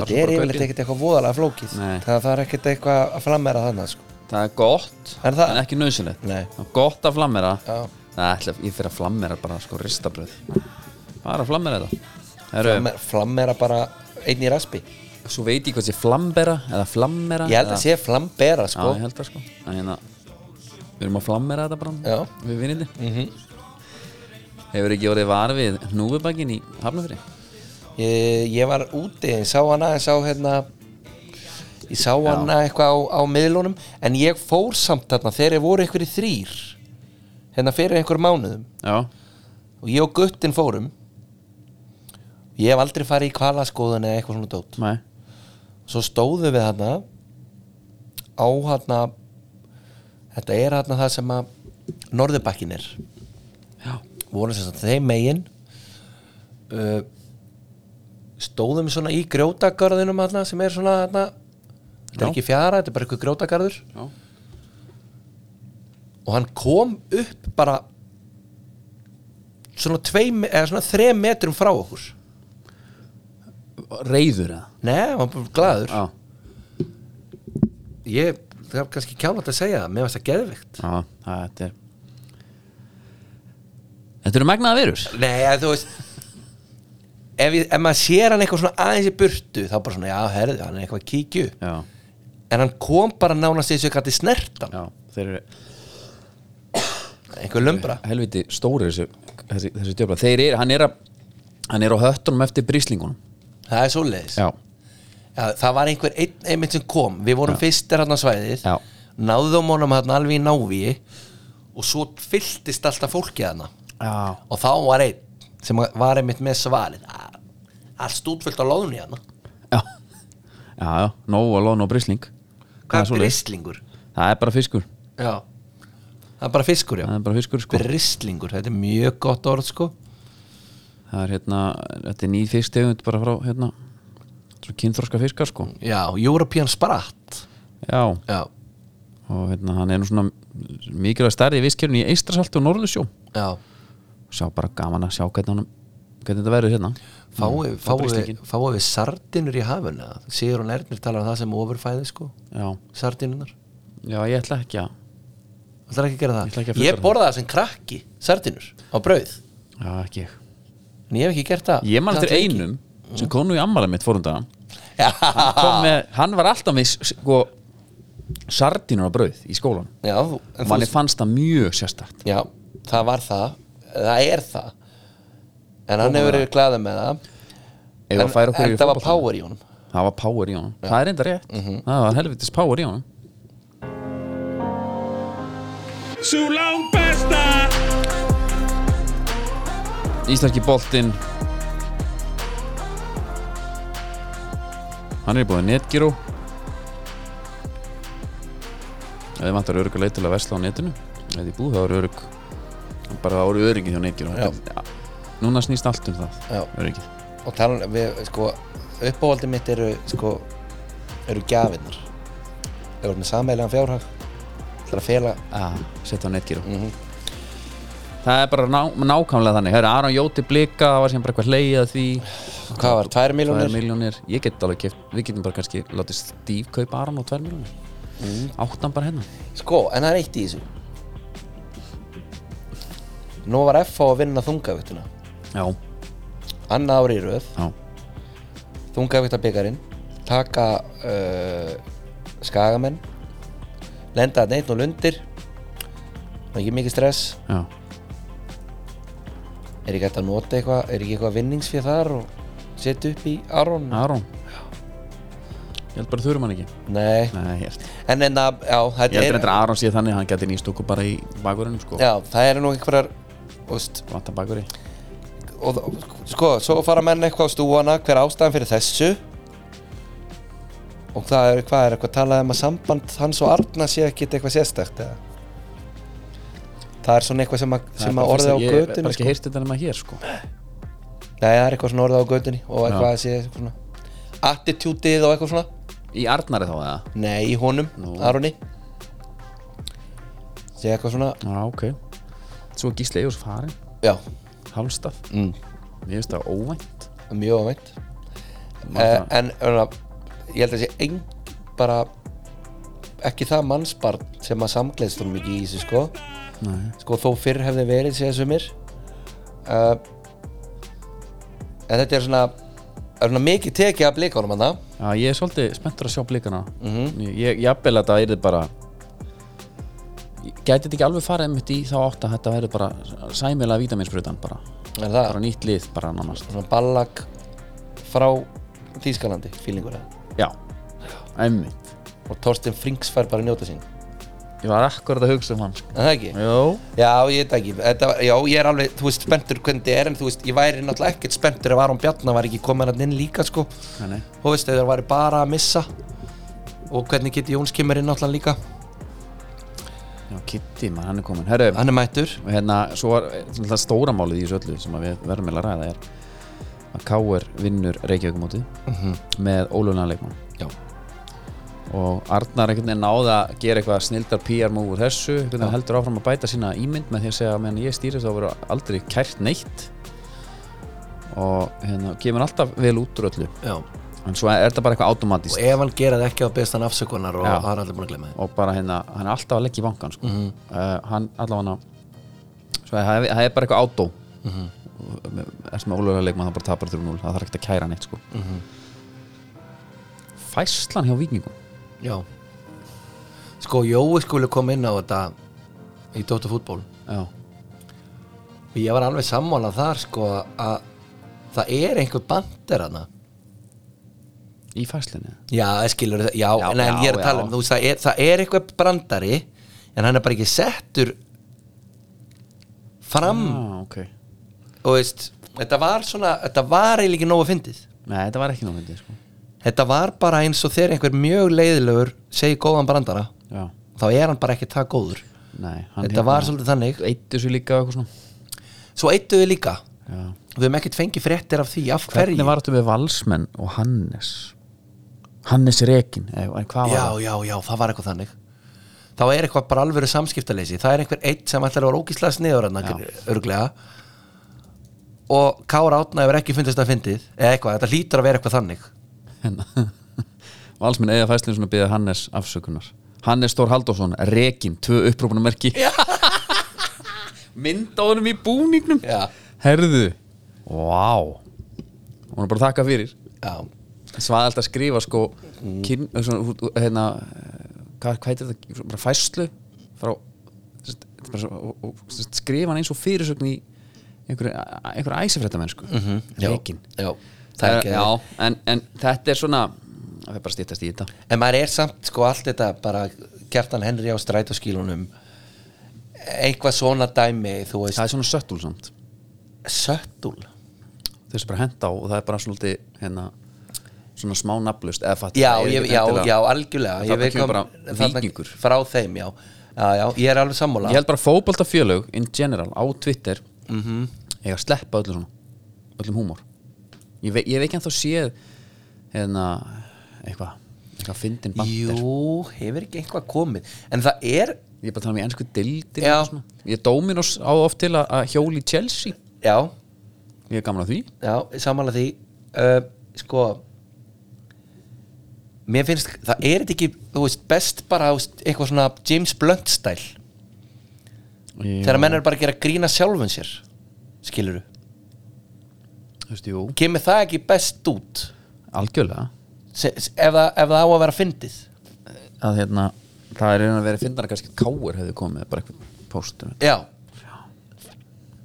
Speaker 1: Það er
Speaker 2: þetta er
Speaker 1: bara
Speaker 2: yfirleitt
Speaker 1: gaurinn.
Speaker 2: ekkert eitthvað voðalega flókið
Speaker 1: Nei.
Speaker 2: Það það er ekkert eitthvað að flammera þannig sko
Speaker 1: það er gott
Speaker 2: Er það?
Speaker 1: en ekki nöðsynlegt
Speaker 2: Nei.
Speaker 1: það er gott að flammera
Speaker 2: Já.
Speaker 1: það ætla ég fyrir að flammera bara sko ristabröð bara að flammera þetta Heru,
Speaker 2: Flammer- Flammera bara einn í raspi
Speaker 1: svo veit ég hvað sé flambera eða flammera
Speaker 2: Ég held
Speaker 1: eða-
Speaker 2: að sé flambera
Speaker 1: já
Speaker 2: sko
Speaker 1: ég held það sko en hérna við erum að flammera þetta bara
Speaker 2: Já. Mhm.
Speaker 1: við vinnindi hefur ekki orðið var við hnúfubakkin í Hafnafri
Speaker 2: Ég, ég var úti, ég sá hana, ég sá hérna ég sá hana eitthvað á, á miðlunum en ég fór samt þarna þegar ég voru einhverjir þrýr hérna fyrir einhverjum mánuðum
Speaker 1: já
Speaker 2: og ég og guttin fórum ég hef aldrei farið í kvalaskoðun eða eitthvað svona dót
Speaker 1: nei
Speaker 2: svo stóðum við hana á hana þetta er hana það sem að norðurbakkin er
Speaker 1: já
Speaker 2: vorum sem sagt þeim megin uh, stóðum svona í grjótagarðinum hana, sem er svona hana, þetta
Speaker 1: Já.
Speaker 2: er ekki fjara, þetta er bara eitthvað grjótagarður
Speaker 1: já
Speaker 2: og hann kom upp bara svona, tveim, eða svona þrem metrum frá okkur
Speaker 1: reyður eða
Speaker 2: Nei, hann var bara glaður
Speaker 1: já
Speaker 2: Ég, það er kannski kjánvægt að segja það, mér varst það geðveikt
Speaker 1: já þetta er þetta eru magnaða virus
Speaker 2: Nei, að þú veist ef, ég, ef maður sér hann eitthvað svona aðeins í burtu þá bara svona, já, herðu, hann er eitthvað að kíkju
Speaker 1: já
Speaker 2: en hann kom bara nánast þessu gæti snertan
Speaker 1: já þeir eru
Speaker 2: einhver lumbra
Speaker 1: helviti stóri þessi, þessi, þessi djöfla þeir eru, hann er að hann er á höttunum eftir bríslingunum
Speaker 2: það er svoleiðis
Speaker 1: já,
Speaker 2: Já, það var einhver einn einmitt sem kom við vorum fyrstir hann á svæðið
Speaker 1: Já.
Speaker 2: náðum honum hann alveg í návíi og svo fylltist alltaf fólkið hann
Speaker 1: já.
Speaker 2: og þá var einn sem var einmitt með svarið "Ah, allt útfyllt á hérna. loðunni hann
Speaker 1: já, já, já, nóg og lón og brísling
Speaker 2: hvað
Speaker 1: er
Speaker 2: er
Speaker 1: svoleiðis.
Speaker 2: bristlingur?
Speaker 1: það er bara fiskur,
Speaker 2: Já, það er bara fiskur já
Speaker 1: það er bara fiskur sko.
Speaker 2: bristlingur, þetta er mjög gott orð sko
Speaker 1: það er hérna, þetta er ný fisktegund bara frá hérna, svo kynþroska fiskar sko
Speaker 2: já, European Sprat
Speaker 1: já,
Speaker 2: já,
Speaker 1: og hérna, hann er nú svona mikilvæg stærri í vistkjörn í Eistrasalti og Norðursjó
Speaker 2: já
Speaker 1: sjá bara gaman að sjá hvernig hann hvernig þetta verður hérna
Speaker 2: fáið fái, fái,
Speaker 1: bristlingi.
Speaker 2: fái sardinur í hafuna Sigur og Nernir talar um það sem ofurfæði sko
Speaker 1: já,
Speaker 2: sardinunar,
Speaker 1: já, ég ætla ekki að
Speaker 2: ætlar ekki að gera
Speaker 1: Ég ætla
Speaker 2: það
Speaker 1: ekki að
Speaker 2: ég,
Speaker 1: fullyrða
Speaker 2: borða það sem krakki, sardinur á brauð,
Speaker 1: já, ekki ég
Speaker 2: en ég hef ekki gert það
Speaker 1: Ég man eftir
Speaker 2: Það lengi.
Speaker 1: einum sem kom nú í ammala mitt fórundagan
Speaker 2: já,
Speaker 1: hann, kom með, hann var alltaf með sko, sardínur á brauð í skólan
Speaker 2: (laughs) já, þú-
Speaker 1: og
Speaker 2: en
Speaker 1: manni
Speaker 2: þú,
Speaker 1: fannst það mjög sérstakt
Speaker 2: já, það var það það er það en hann hefur verið glæða með það
Speaker 1: Eigum við að færa okkur
Speaker 2: en
Speaker 1: yfir
Speaker 2: það var
Speaker 1: fótboltann?
Speaker 2: power í honum
Speaker 1: það var power í honum, það er enda rétt
Speaker 2: Mhm.
Speaker 1: það var helvitis power í honum
Speaker 4: Sú lang besta
Speaker 1: Íslenski boltinn hann er búið netgyró ef þið vantar örugg að leita til að versla á netinu ef þið búið þá eru örugg bara þá eru öryggi hjá netgyró
Speaker 2: Já.
Speaker 1: núna snýst allt um það
Speaker 2: Já.
Speaker 1: öryggið
Speaker 2: og tala við, sko, uppávaldi mitt eru sko, eru gjafinnar ef við erum með sameilaðan fjárhag það er að fela
Speaker 1: ah, setja á netgíru
Speaker 2: mm -hmm.
Speaker 1: það er bara ná, nákvæmlega þannig það er Aron Jóti blika, það var sem bara eitthvað hleyið að því
Speaker 2: hvað var, 2
Speaker 1: 2
Speaker 2: miljónir?
Speaker 1: miljónir, ég get alveg keft við getum bara kannski látið Steve kaupa Aron á 2 miljónir
Speaker 2: Mhm.
Speaker 1: mm. áttan bara hérna
Speaker 2: sko, en það er eitt í þessu nú var FH að vinna þungaviktuna
Speaker 1: já,
Speaker 2: annað ári í röð,
Speaker 1: já,
Speaker 2: þungaviktabikarin taka uh, skagamenn lenda að neitt og lundir og ekki mikið stress
Speaker 1: já
Speaker 2: er ekki hægt að nota eitthvað, er ekki eitthvað vinningsfér þar og setja upp í Aron
Speaker 1: Aron ég held bara þurfum hann ekki
Speaker 2: Nei,
Speaker 1: Nei, ég held-
Speaker 2: en en að, já,
Speaker 1: ég
Speaker 2: þetta
Speaker 1: heldur
Speaker 2: er
Speaker 1: þetta að Aron sé þannig að hann geti nýst okkur bara í bakurinn sko,
Speaker 2: Já, það eru nú einhverjar úst,
Speaker 1: vantar bakuri
Speaker 2: og, sko, svo fara menn eitthvað á stúana hver er ástæðan fyrir þessu og það er, hvað er eitthvað talað um að samband hans og Arna sé ekki eitthvað sérstakt eða það er svona eitthvað sem að,
Speaker 1: Það er
Speaker 2: sem
Speaker 1: bara
Speaker 2: að orðið á
Speaker 1: fyrst- ég hef bara
Speaker 2: götunni
Speaker 1: ekki
Speaker 2: sko.
Speaker 1: heyrt þetta nema hér sko
Speaker 2: Nei, það er eitthvað svona orðið á götunni og eitthvað
Speaker 1: Já.
Speaker 2: að sé eitthvað svona attitútið og eitthvað svona
Speaker 1: í Arnari þá eða
Speaker 2: Nei, í honum,
Speaker 1: Nú.
Speaker 2: Aroni Segja eitthvað svona
Speaker 1: já, ok svo er Gísli Ejós farin
Speaker 2: Já,
Speaker 1: Hálstað,
Speaker 2: mm.
Speaker 1: mér finnst það óvænt
Speaker 2: mjög ávænt
Speaker 1: Maður
Speaker 2: uh,
Speaker 1: það-
Speaker 2: En öfna, ég held að sé ein bara ekki það mannsbarn sem að samgleðst honum ekki í þessu sko
Speaker 1: Nei.
Speaker 2: sko þó fyrr hefði verið segja sumir uh, En þetta er svona er svona mikið tekið af blikunum hann það
Speaker 1: Já, ég er svolítið spenntur að sjá blikana
Speaker 2: Mhm.
Speaker 1: Ég, ég jafnvel að það er bara Gæti þetta ekki alveg farið einmitt í þá átt að þetta væri bara sæmilega vítaminsbrutan bara
Speaker 2: Er það
Speaker 1: bara nýtt lið bara nánast
Speaker 2: svona ballag frá Þýskalandi fílingur eða
Speaker 1: Já, einmitt
Speaker 2: og Torsten Frings fær bara að njóta sín
Speaker 1: Ég var akkurat að hugsa um hann sko.
Speaker 2: en það ekki?
Speaker 1: Jó
Speaker 2: Já, ég veit ekki Þetta, var- Já, ég er alveg, þú veist, spenntur hvernig þið er en þú veist, ég væri náttúrulega ekkert spenntur ef Aron Bjarnar var ekki komin hann inn líka sko
Speaker 1: Nei, nei.
Speaker 2: þú veist, þegar það væri bara að missa og hvernig geti Jóns kemur inn náttúrulega líka
Speaker 1: Já, Kitty, mann, hann er kominn Herru,
Speaker 2: Hann er mættur
Speaker 1: hérna, svo var eh, svona stóra málið í þessu öllu sem að við verðum eiginlega að ræða er að K.R. vinnur Reykjavíkumótið með ólöfna leikmann
Speaker 2: Já.
Speaker 1: og Arnar einhvern veginn náði að gera eitthvað snildar PR múið úr þessu einhvern veginn heldur áfram að bæta sína ímynd með því að segja að meðan ég stýri þá verður aldrei kært neitt og hérna, kemur alltaf vel út úr öllu
Speaker 2: Já.
Speaker 1: en svo er þetta bara eitthvað automatist
Speaker 2: og ef hann gera það ekki á bestan afsökunar og
Speaker 1: Já.
Speaker 2: það er Mhm. allir búin að glemma
Speaker 1: og bara hérna, hann er alltaf að leggja í bankan sko. uh, hann allavega svo að það er- það er bara eitthvað átó mm
Speaker 2: Mhm.
Speaker 1: -hmm. erst með ólega leikmann það bara tapar 3-0, það þarf ekkert að kæra neitt sko.
Speaker 2: Mhm.
Speaker 1: fæslan hjá vikingum
Speaker 2: það Já Sko, Jói skuli koma inn á þetta í Dóttu fútból
Speaker 1: já,
Speaker 2: og ég var alveg sammála þar sko að það er einhver bandir hana
Speaker 1: í fæslinni
Speaker 2: Já, skilur, já,
Speaker 1: Já,
Speaker 2: en, en ég er
Speaker 1: já,
Speaker 2: að tala um,
Speaker 1: já.
Speaker 2: þú veist, það er, það er eitthvað brandari en hann er bara ekki settur fram
Speaker 1: ah, ok,
Speaker 2: og veist, þetta var svona, þetta var eiginlega ekki nógu að fyndið
Speaker 1: nei þetta var ekki námyndið sko.
Speaker 2: þetta var bara eins og þegar einhver mjög leiðilegur segir góðan brandara
Speaker 1: já,
Speaker 2: þá er hann bara ekki það góður
Speaker 1: nei hérna-
Speaker 2: þetta var svolítið þannig
Speaker 1: eittu svo líka og eitthvað svona
Speaker 2: svo eittuðu líka,
Speaker 1: já.
Speaker 2: við hefum ekkert fengið fréttir af því, af hverju
Speaker 1: hvernig var þetta með valsmenn og Hannes Hannes Rekin, eða hvað var
Speaker 2: já,
Speaker 1: það
Speaker 2: já, já, það var eitthvað þannig þá er eitthvað bara alvöru samskiptaleysi það er einhver eitt sem ætlar að vera ógíslega sniður hann örglega og Kára Átna hefur ekki fundist að fyndið eða eitthvað, þetta hlýtur að vera eitthvað þannig
Speaker 1: hérna (laughs) Valsmenn Eyja Fæslinsson að byrja Hannes afsökunar Hannes Þór Halldórsson, Rekin, tvö upprópunamerki (laughs) mynd á honum í búningnum
Speaker 2: Já.
Speaker 1: herðu, vá wow. hún er bara að þakka fyrir
Speaker 2: já,
Speaker 1: svaði alltaf að skrifa sko
Speaker 2: Mm.
Speaker 1: kyn, svona, hú- hú- hérna eh, hvað, hvað heitir þetta, Svona bara fæslu frá sem sagt, þetta er bara svo- og- og, sem sagt, skrifa hann eins og fyrirsögn í einhverju einhver æsifrættamennsku mm -hmm. Rekin
Speaker 2: Mhm, já, það er ekki
Speaker 1: Eh, já, en, en þetta er svona það er bara stýttast í þetta
Speaker 2: en maður er samt sko allt þetta bara kjartan Henry á strætóskílunum eitthvað svona dæmi þú veist,
Speaker 1: það er svona söttul samt
Speaker 2: söttul
Speaker 1: þessi bara henda á og það er bara svolítið hérna, svona smá nafnlust eða fatt
Speaker 2: já, ég, já, já, algjörlega
Speaker 1: Þarna
Speaker 2: ég veit
Speaker 1: kemur
Speaker 2: kom-
Speaker 1: bara
Speaker 2: þarna-
Speaker 1: víkingur.
Speaker 2: frá þeim, já, já, já, ég er alveg sammála
Speaker 1: ég held bara fótbolta fjölög in general á Twitter mm eiga að sleppa öllu svona öllum húmor ég, ve ég hef ekki ennþá séð hérna, eitthvað eitthvað fyndin bandir
Speaker 2: Jú, hefur ekki eitthvað komið En það er,
Speaker 1: ég er bara að tala um í ennsku dildir
Speaker 2: Já.
Speaker 1: ég Dominos á oft til að, að hjóli Chelsea
Speaker 2: já,
Speaker 1: ég er gaman að því
Speaker 2: já, samanlega því uh, Sko Mér finnst, það er þetta ekki Þú veist, best bara þú veist, eitthvað svona James Blunt stæl
Speaker 1: Ég-
Speaker 2: Þegar menn er bara að gera grína sjálfum sér Skilurðu
Speaker 1: Þú veist, jú,
Speaker 2: Kemur það ekki best út
Speaker 1: algjörlega
Speaker 2: se, se, ef, það, ef það á að vera fyndið
Speaker 1: að hérna, það er einhvern að vera fyndar að kannski káur hefði komið bara eitthvað póstum
Speaker 2: Já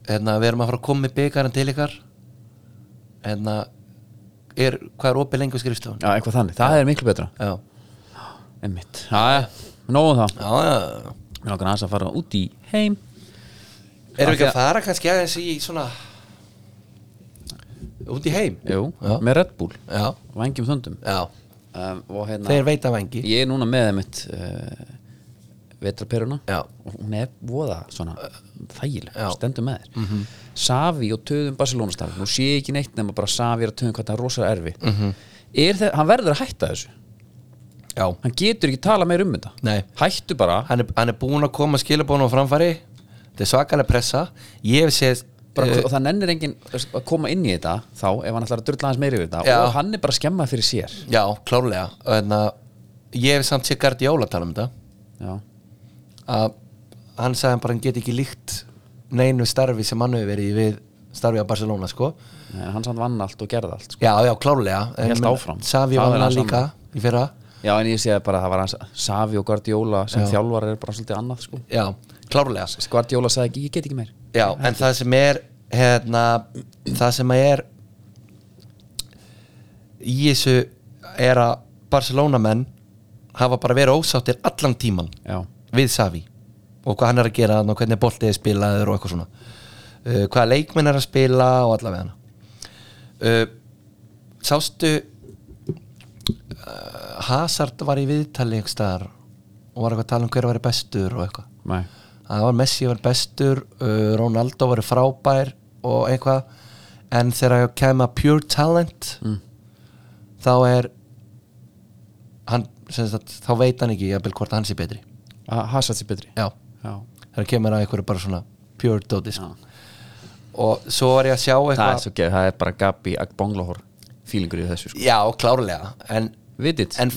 Speaker 2: Hérna, við erum að fara að koma með byggarinn til ykkar Hérna er, Hvað er opið lengur skrifstofan?
Speaker 1: já, eitthvað þannig, það er miklu betra
Speaker 2: Já
Speaker 1: einmitt, já, nóðum það
Speaker 2: Já, já, já
Speaker 1: mér langar aðeins að fara út í heim
Speaker 2: Erum við ekki að fara kannski aðeins í svona Út í heim?
Speaker 1: jú,
Speaker 2: Já.
Speaker 1: með Red Bull,
Speaker 2: Já,
Speaker 1: vangjum þöndum
Speaker 2: já
Speaker 1: um, og hérna,
Speaker 2: Þeir veita vengi
Speaker 1: ég er núna með einmitt uh, vetraperuna
Speaker 2: Já.
Speaker 1: og hún er voða svona þægileg,
Speaker 2: Já. Mhm.
Speaker 1: stendur með þér Savi og töðum Barcelona stafn nú sé ég ekki neitt nema bara Savi er að töðum hvað það er rosa erfi
Speaker 2: Mhm.
Speaker 1: -hmm. er það, hann verður að hætta þessu
Speaker 2: Já
Speaker 1: hann getur ekki tala meir um þetta
Speaker 2: Nei.
Speaker 1: hættu bara,
Speaker 2: Hann er, hann er búin að koma skilabónu á framfæri Þetta er svakalega pressa Ég hef séð
Speaker 1: bara
Speaker 2: eh,
Speaker 1: og það nennir enginn þú veist, að koma inn í þetta þá ef hann ætlar að drulla hans meiri yfir þetta
Speaker 2: Já.
Speaker 1: og hann er bara skemmað fyrir sér
Speaker 2: Já, klárlega Þannig að ég hef samt séð Gardiola tala um þetta
Speaker 1: já,
Speaker 2: að hann sagði hann bara hann geti ekki líkt neinu starfi sem hann hefur verið í við starfi á Barcelona sko
Speaker 1: en Eh, hann samt vann allt og gerði allt sko.
Speaker 2: já, já, klárlega en
Speaker 1: Hélt
Speaker 2: menn-
Speaker 1: áfram.
Speaker 2: Xavi
Speaker 1: Það
Speaker 2: var
Speaker 1: er
Speaker 2: hann
Speaker 1: hans
Speaker 2: líka í fyrra
Speaker 1: já, en ég sé bara að það var hans Savi og Guardiola sem
Speaker 2: Já.
Speaker 1: þjálfar er bara svolítið annað sko.
Speaker 2: já, klárlega
Speaker 1: Þú veist, Guardiola sagði ekki, ég get ekki meir
Speaker 2: já, en það sem er hérna, það sem er í þessu er að Barcelona menn hafa bara verið ósáttir allan tíman
Speaker 1: já,
Speaker 2: við Savi og hvað hann er að gera þarna og hvernig boltið er spilaður og eitthvað svona uh, hvaða leikmenn er að spila og allavega hana uh, sástu uh, Hazard var í viðtali einhvers staðar og var eitthvað að tala um hver var bestur og eitthvað
Speaker 1: nei,
Speaker 2: það var Messi var bestur uh, Ronaldo var frábær og eitthvað en þegar ég kem að pure talent
Speaker 1: Mm.
Speaker 2: þá er hann, sem sagt, þá veit hann ekki jafnvel, hvort hann sé betri
Speaker 1: Ha- Hazard sé betri
Speaker 2: já,
Speaker 1: já,
Speaker 2: þegar kemur að einhverju bara svona pure dóti sko. og svo var ég að sjá
Speaker 1: það er,
Speaker 2: eitthvað
Speaker 1: svo, ge- það er bara Gabi Agbonglohor fílingur í þessu sko.
Speaker 2: já, klárlega en,
Speaker 1: vitið,
Speaker 2: en,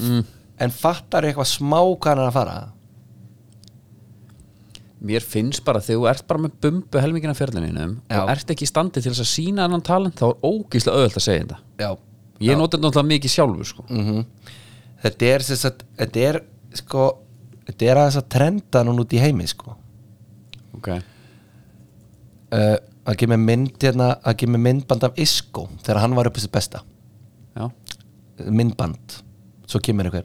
Speaker 2: en fattar eitthvað smá hvað hann er að fara
Speaker 1: mér finnst bara þegar þú ert bara með bumbu helmingina fjarlininum
Speaker 2: Já.
Speaker 1: og ert ekki í standi til þess að sína annan talent þá er ógíslega auðvöld að segja þetta
Speaker 2: já,
Speaker 1: ég nota þetta náttúrulega mikið sjálfur sko.
Speaker 2: Mhm. þetta er sem sagt, þetta er sko, þetta er aðeins að trenda núna út í heimi sko
Speaker 1: ok
Speaker 2: uh, að gefa mér mynd hérna, að gefa mér myndband af Isko þegar hann var upp á sitt besta
Speaker 1: Já,
Speaker 2: myndband, svo kemur einhver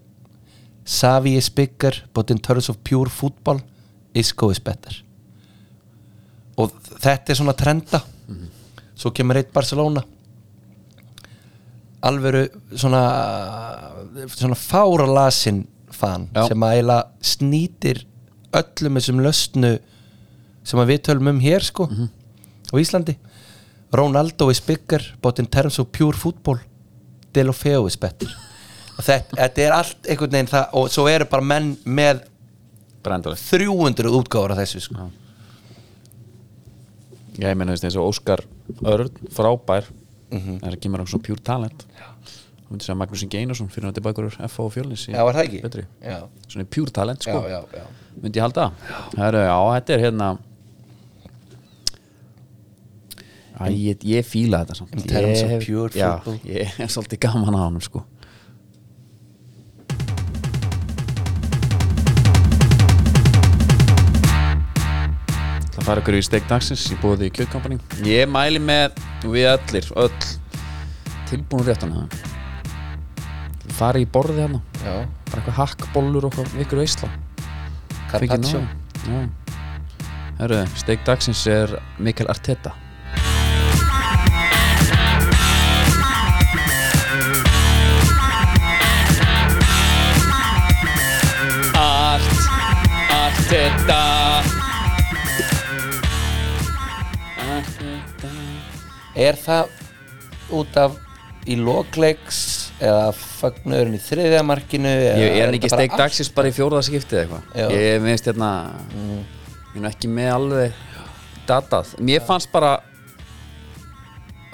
Speaker 2: Savi is bigger but in terms of pure football Isco is better og þetta er svona trenda svo kemur eitt Barcelona alvöru svona svona fáralasin fan
Speaker 1: Já.
Speaker 2: sem að eila snýtir öllum þessum löstnu sem að við tölum um hér sko
Speaker 1: Mhm.
Speaker 2: á Íslandi Ronaldo is bigger but in terms of pure football Delofeo is better Og þetta, þetta er allt einhvern veginn það og svo eru bara menn með
Speaker 1: brendalegt
Speaker 2: 300 útgáfur af þessu sko.
Speaker 1: Já, ég meina þú veist eins og Óskar Örn, frábær mm
Speaker 2: Mhm.
Speaker 1: -hmm. Það kemur á svona pure talent Þú myndir segja Magnús Ingi Einarsson fyrir að tilbækur F.A. og Fjölnis í
Speaker 2: Já, er það ekki?
Speaker 1: Betri.
Speaker 2: Já.
Speaker 1: Svona pure talent, sko
Speaker 2: Já, já, já.
Speaker 1: Myndi ég halda Heru, Já, þetta er hérna Æ, ég, ég fíla þetta samt
Speaker 2: In terms
Speaker 1: Ég
Speaker 2: of
Speaker 1: hef-
Speaker 2: pure
Speaker 1: Já,
Speaker 2: football.
Speaker 1: ég er svolítið gaman á honum, sko Það fara ykkur í steik dagsins í bóði í kjökkampaning Ég mæli með við allir, öll tilbúinu réttan það Fari í borðið hérna
Speaker 2: Já.
Speaker 1: Bara eitthvað hakkbollur og eitthvað ykkur veisla Fengið
Speaker 2: Carpaccio
Speaker 1: nóg. Já. Herru, steik dagsins er Mikael Arteta Art Arteta Arteta
Speaker 2: Er það út af í lokleiks eða fagnurinn í þriðja markinu eða
Speaker 1: Ég er hann ekki
Speaker 2: þetta bara
Speaker 1: steik dagsins bara í fjórða skiptið eða
Speaker 2: Já. Mm.
Speaker 1: eitthvað Ég minnst hérna Ég er nú ekki með alveg datað Mér fannst bara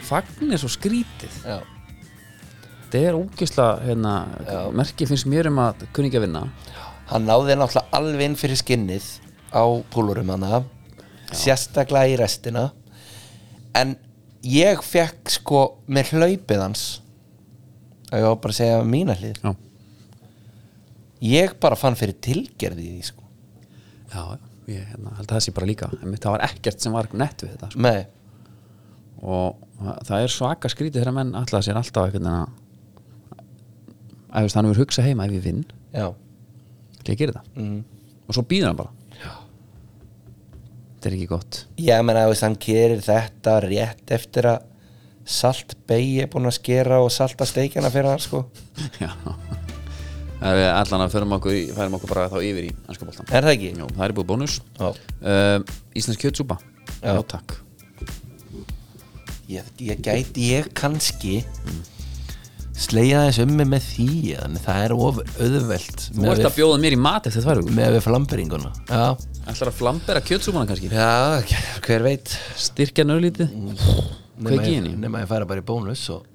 Speaker 1: Fagn er svo skrítið
Speaker 2: allt- Já,
Speaker 1: Þetta er ógeðslega hérna, Merki finnst mér um að kunni ekki að vinna
Speaker 2: hann náði náttúrulega alveg inn fyrir skinnið á púlurum hana sérstaklega í restina en ég fekk sko með hlaupið hans að ég var bara að segja mína hlið
Speaker 1: Já,
Speaker 2: ég bara fann fyrir tilgerði í því sko
Speaker 1: já ég hérna, held að það sé bara líka En það var ekkert sem var nett við þetta sko.
Speaker 2: með
Speaker 1: Og það- það er svaka skrítið þegar menn ætla sér alltaf einhvern veginn að Æ, veist, hann hefur hugsað heima ef ég vinn
Speaker 2: já
Speaker 1: Ég gerir það mm. Og svo býður hann bara já. Þetta er ekki gott
Speaker 2: Ég meina, þú veist, hann gerir þetta rétt eftir að salt beigi er búin að skera og salta steikjana fyrir hann, sko.
Speaker 1: (laughs) Já Það er allan að förum okkur, í, færum okkur bara þá yfir í ennska boltan
Speaker 2: Er það ekki?
Speaker 1: Jó, það er búið bónus
Speaker 2: Já.
Speaker 1: uh, Íslensk kjötsúpa
Speaker 2: Já.
Speaker 1: Já, takk
Speaker 2: Ég, ég gæti, ég kannski slegja þess um mig með því, en það er of auðvelt
Speaker 1: Þú ert að bjóða mér í mat eftir þværu
Speaker 2: með við flamberinguna. Já.
Speaker 1: Ætlar að flambera kjötsúpana kannski
Speaker 2: Já, hver veit.
Speaker 1: Styrkja nörlítið
Speaker 2: Nema
Speaker 1: Kveiki í
Speaker 2: ég-
Speaker 1: henni.
Speaker 2: Nema ég færa bara í bónus og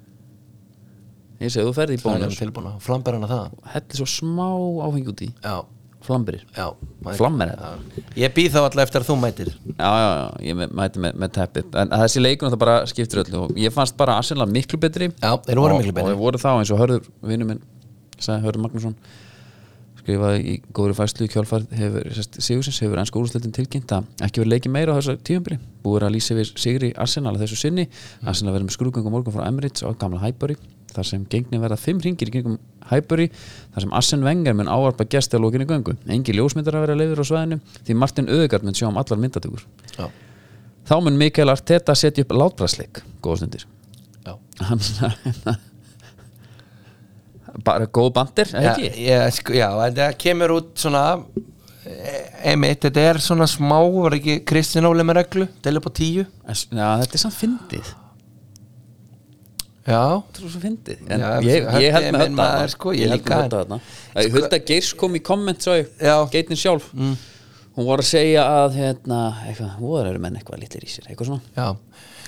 Speaker 1: Ég segi þú ferði í
Speaker 2: það er
Speaker 1: bónus
Speaker 2: tilbúna. Flamberana það.
Speaker 1: Hellir svo smá áhengi út í
Speaker 2: Já,
Speaker 1: Flamberir
Speaker 2: já.
Speaker 1: Flammer
Speaker 2: Já. Ég býð þá alltaf eftir að þú mætir.
Speaker 1: Já, já, já, ég me- mæti með, með teppið En þessi leikun það bara skiptir öllu og Ég fannst bara Arsenal miklu betri
Speaker 2: Já, þeir voru
Speaker 1: Og-
Speaker 2: miklu betri.
Speaker 1: Og þeir voru þá eins og Hörður, vinnu minn sagði Hörður Magnússon skrifaði í góðri fæslu í kjálfærð hefur, sérst, Sigursins hefur ennska úrslutin tilkynnt að ekki verið leikið meira á þessu tíumbyrji búið er að lýsa við Sigri Arsenal að þessu sinni
Speaker 2: Mm.
Speaker 1: Arsenal verður með skrúgöngum morgun frá Emirates og gamla Highbury þar sem gengni verða fimm ringir í gengum Highbury þar sem Arsene Wenger mun ávarpa gesti að lókinni göngu engi ljósmyndar að vera leifir á svæðinu því Martin Öðegard mun sjá um allar myndatökur
Speaker 2: Já,
Speaker 1: þá mun Mikael Arteta setja upp látbrasleik góða stundir
Speaker 2: já.
Speaker 1: hann bara góð bandir
Speaker 2: Já,
Speaker 1: ekki?
Speaker 2: ég, sko, já, en það kemur út svona eh, einmitt, þetta er svona smá var ekki Kristján Óli með reglu, deil upp á tíu
Speaker 1: En s- Já, þetta er samt fyndið
Speaker 2: já,
Speaker 1: Þetta er svo fyndið En
Speaker 2: Já,
Speaker 1: ég,
Speaker 2: Höddi
Speaker 1: ég held
Speaker 2: er
Speaker 1: með
Speaker 2: minn
Speaker 1: hötta
Speaker 2: maður,
Speaker 1: þarna.
Speaker 2: sko, ég
Speaker 1: Ég held
Speaker 2: líka,
Speaker 1: með
Speaker 2: en-
Speaker 1: hötta þarna Æ, Hulda Geirs kom í komment svo
Speaker 2: Já. Mm.
Speaker 1: Geitin sjálf Hún var að segja að hérna, eitthvað, voru eru menn eitthvað litlir í sér eitthvað svona.
Speaker 2: já,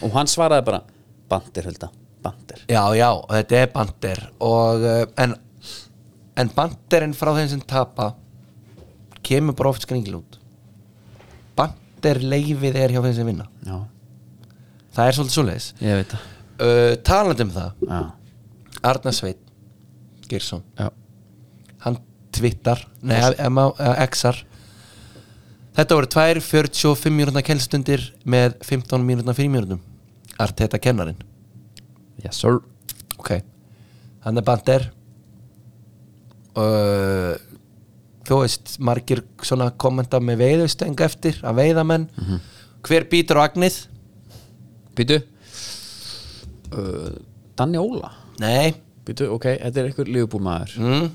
Speaker 1: Og hann svaraði bara Bandir Hulda, bandir
Speaker 2: já, já þetta er bandir og, eh, en, en bandirinn frá þeim sem tapa kemur bara oft skringil út bandirleifið er hjá þeim sem vinna
Speaker 1: Já,
Speaker 2: það er svolítið svoleiðis
Speaker 1: ég veit það
Speaker 2: uh, talandi um það,
Speaker 1: Já,
Speaker 2: Arna Sveit Geirsson
Speaker 1: já,
Speaker 2: hann twittar nei, MA, XR þetta voru 2 45 mínútna kelstundir með 15 mínútna frímjörnum Arteta kennarinn
Speaker 1: yes sir
Speaker 2: ok, hann er bandir uh, þú veist margir svona kommenta með veiðustöng eftir að veiða menn hver býtur á agnið?
Speaker 1: Býtu uh, Danni Óla
Speaker 2: nei
Speaker 1: Býtu, ok, þetta er eitthvað lífbúmaður
Speaker 2: mm,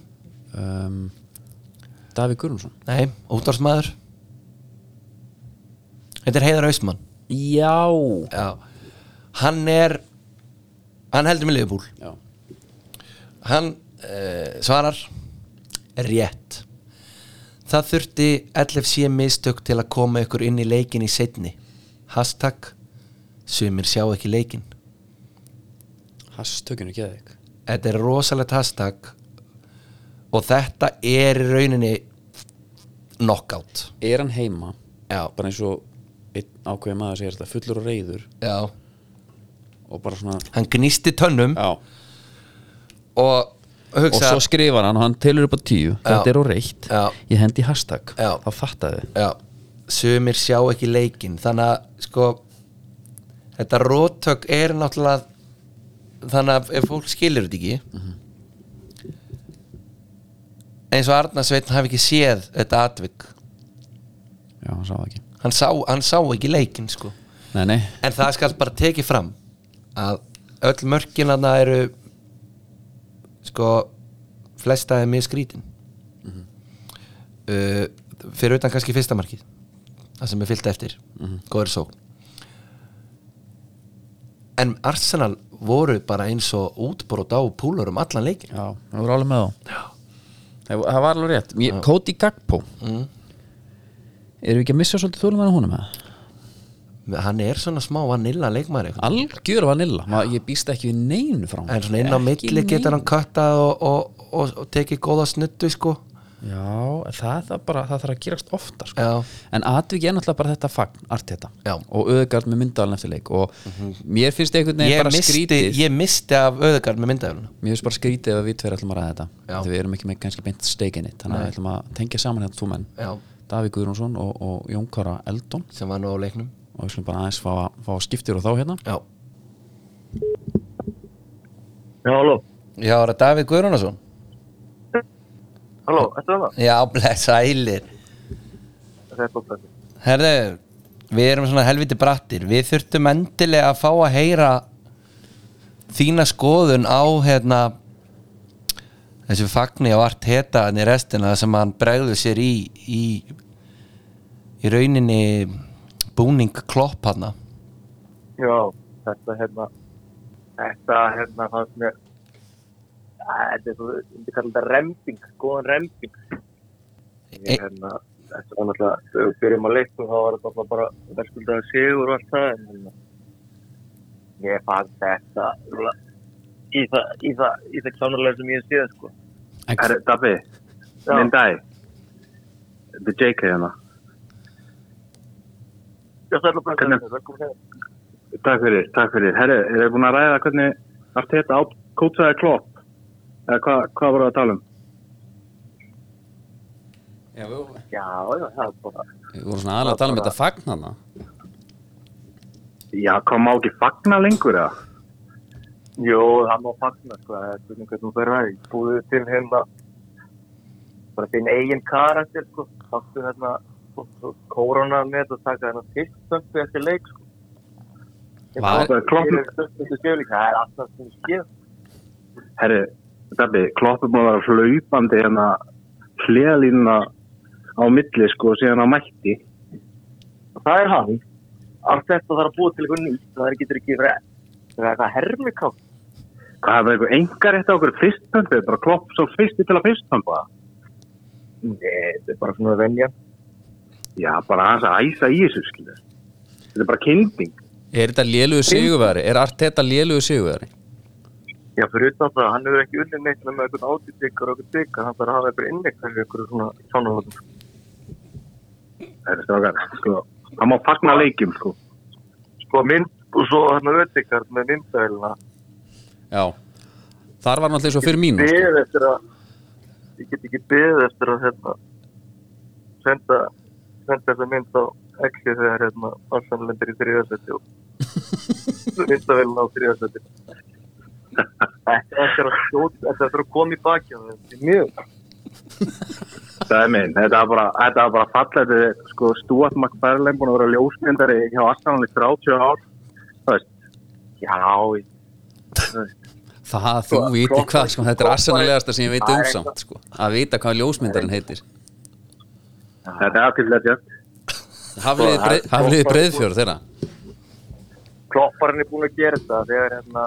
Speaker 1: um, Davík Gurunsson
Speaker 2: nei, útvarsmaður þetta er Heiðar Austmann
Speaker 1: Já
Speaker 2: Já. hann er hann heldur með liðbúl
Speaker 1: Já,
Speaker 2: hann uh, svarar rétt það þurfti LFC mistök til að koma ykkur inn í leikin í setni hashtag sumir sjá ekki leikin
Speaker 1: hastökinu geðið
Speaker 2: þetta er rosalegt hashtag og þetta er í rauninni knockout
Speaker 1: Er hann heima,
Speaker 2: já,
Speaker 1: bara eins og einn ákveðið maður segir þetta, fullur og reyður
Speaker 2: já.
Speaker 1: og bara svona
Speaker 2: hann gnisti tönnum
Speaker 1: Já,
Speaker 2: og
Speaker 1: og
Speaker 2: hugsa
Speaker 1: svo skrifar hann og hann telur upp á tíu Þetta er á reytt,
Speaker 2: Já.
Speaker 1: ég hendi hashtag
Speaker 2: Já.
Speaker 1: Þá fattaði
Speaker 2: Já, sumir sjá ekki leikin þannig að sko þetta róttök er náttúrulega þannig að ef fólk skilur þetta ekki eins og Arna Sveitn hafi ekki séð þetta atvik
Speaker 1: Já, hann sá það ekki
Speaker 2: hann sá, hann sá ekki leikin sko
Speaker 1: Nei, nei,
Speaker 2: en það skal bara tekið fram að öll mörkinana eru sko flesta er mjög skrítin uh, fyrir utan kannski fyrsta markið Mhm. það sem er fyllt eftir, góður sókn en en Arsenal voru bara eins og útbrot á púlur um allan leikin
Speaker 1: Já, það voru alveg með þá Það það var alveg rétt Mér, Cody Gagpo Erum við ekki að missa svolítið þólum að honum að?
Speaker 2: hann er svona smá vanilla leikmaður einhvern
Speaker 1: Algjör vanilla, Ma, ég býst ekki við neinu frá honum.
Speaker 2: en svona inn á
Speaker 1: Ekki
Speaker 2: milli getur hann kattað og, og, og, og tekið góða snuttu sko
Speaker 1: neinu. Já, en það, það, bara, það þarf að gerast ofta sko.
Speaker 2: Já.
Speaker 1: En atvik er náttúrulega bara þetta fagn Arteta
Speaker 2: Já. Mhm.
Speaker 1: Og auðgard með myndalinn eftir leik Og mér finnst einhvern veginn
Speaker 2: ég
Speaker 1: bara
Speaker 2: misti,
Speaker 1: skrítið sko?
Speaker 2: ég misti af auðgard með myndaféluna
Speaker 1: Mér finnst bara skrítið ef við tveir ætlum að ræða þetta
Speaker 2: Já.
Speaker 1: Þegar við erum ekki með kannski beint steikinni Þannig að við ætlum að tengja saman hérna tvo menn
Speaker 2: Já.
Speaker 1: Davík Guðrúnsson og, og Jón Kara Eldon
Speaker 2: sem var nú á leiknum
Speaker 1: og við skulum bara aðeins fá, fá skiptir og þá hérna
Speaker 2: já,
Speaker 5: Já, halló.
Speaker 2: já er það Davíð Guðrúnason
Speaker 5: Halló, eftir það?
Speaker 2: já, blessa ælir
Speaker 5: Þetta er gott þessi.
Speaker 2: herðu, við erum svona helviti brattir við þurftum endilega að fá að heyra þína skoðun á hérna þessu fagni á art heta í restina sem hann bregður sér í í, í rauninni búning klopp hana
Speaker 5: Já, þetta hérna, þetta hérna fannst mér, Æ, þetta er svo, ég myndi kalla þetta remping, góðan remping.
Speaker 2: E-
Speaker 5: Ég hérna, þetta var náttúrulega, þegar við byrjum að leikta þá var þetta náttúrulega bara verðskuldaði sigur og allt það, en hérna, ég fannst þetta, svona, í það, í það, í það kjánarlega sem ég hef séð, sko.
Speaker 1: en,
Speaker 6: Dabbi,
Speaker 5: Já.
Speaker 6: minn dag Þetta er JK hérna
Speaker 5: Já, það er hérna. bara að
Speaker 6: Hvernig-
Speaker 5: segja, velkomin heim.
Speaker 6: Takk fyrir, takk fyrir Herru, er þið búin að ræða hvernig allt þetta á kótsaði klopp eða hva, hvað voru að tala um?
Speaker 1: já, við,
Speaker 5: Já, já, það er bara,
Speaker 1: við vorum svona aðlega að tala um þetta fagn hana
Speaker 6: Já, hvað má ekki fagna lengur eða?
Speaker 5: Jó, það má fagna, sko, það er spurning hvernig þú verður aðeins. Búðu til hérna, bara þinn eigin karakter, sko, taktu hérna koronanet og taka hérna fyrst söndu eftir leik, sko. Ég
Speaker 1: Var-
Speaker 5: bara-
Speaker 6: Klopp-
Speaker 5: ég er stundu skjöfling, Það er alltaf sem ég skil.
Speaker 6: Herru, Dabbi, klopp er búin að vera hlaupandi hérna hliðalínuna á milli sko síðan á mætti
Speaker 5: Það er hann. Allt þetta þarf að búa til eitthvað nýtt, það er getur ekki verið. Það er eitthvað hermikátt.
Speaker 6: Hvað er það eitthvað engar eftir okkur fyrstpömpu? Bara klopp svo fyrsti til að fyrstpömpu
Speaker 5: Nei, þetta er bara svona venja.
Speaker 6: Já, bara hans að æsa í þessu skilur Þetta er bara kynding
Speaker 1: er þetta lélugu sigurveri, er Arteta lélugu sigurveri
Speaker 5: Já, fyrir utan það, hann hefur ekki unnið neitt með eitthvað átíðdikar og eitthvað dikar, hann þarf að hafa eitthvað innleikar fyrir eitthvað svona svona
Speaker 6: Herru, strákar, sko Það má fagna leikjum sko
Speaker 5: sko mynd og svo hérna ötikar með myndavélina
Speaker 1: já, þar var náttúrulega svo fyrir mín
Speaker 5: beðið eftir að ég get ekki beðið eftir að hérna senda senda þessa mynd á ekki þegar hérna Arsenal lendir í þriðarsætti og myndavélina á þriðarsætti eftir að skjóta eftir að koma í baki á þeim, því mjög
Speaker 6: Það er minn, þetta var bara, þetta var bara fallið, þetta er, sko, Stuart McFarlane búin að vera ljósmyndari hjá Arsenal í 30 ár, það veist,
Speaker 5: já, ég-
Speaker 1: það þú viti
Speaker 5: Klopp-
Speaker 1: hvað, sko, þetta er
Speaker 5: Klopp-
Speaker 1: arsenallegasta sem ég veit
Speaker 5: Það
Speaker 1: um
Speaker 5: er eitthvað-
Speaker 1: samt sko. að vita hvað ljósmyndarinn heitir
Speaker 6: þetta er aðkvæmlega þetta,
Speaker 1: hafliði
Speaker 5: Sko, það er
Speaker 1: breið- hafliði
Speaker 5: Klopp-
Speaker 1: breiðfjörð þeirra
Speaker 5: klopparinn er búin að gera þetta þegar hérna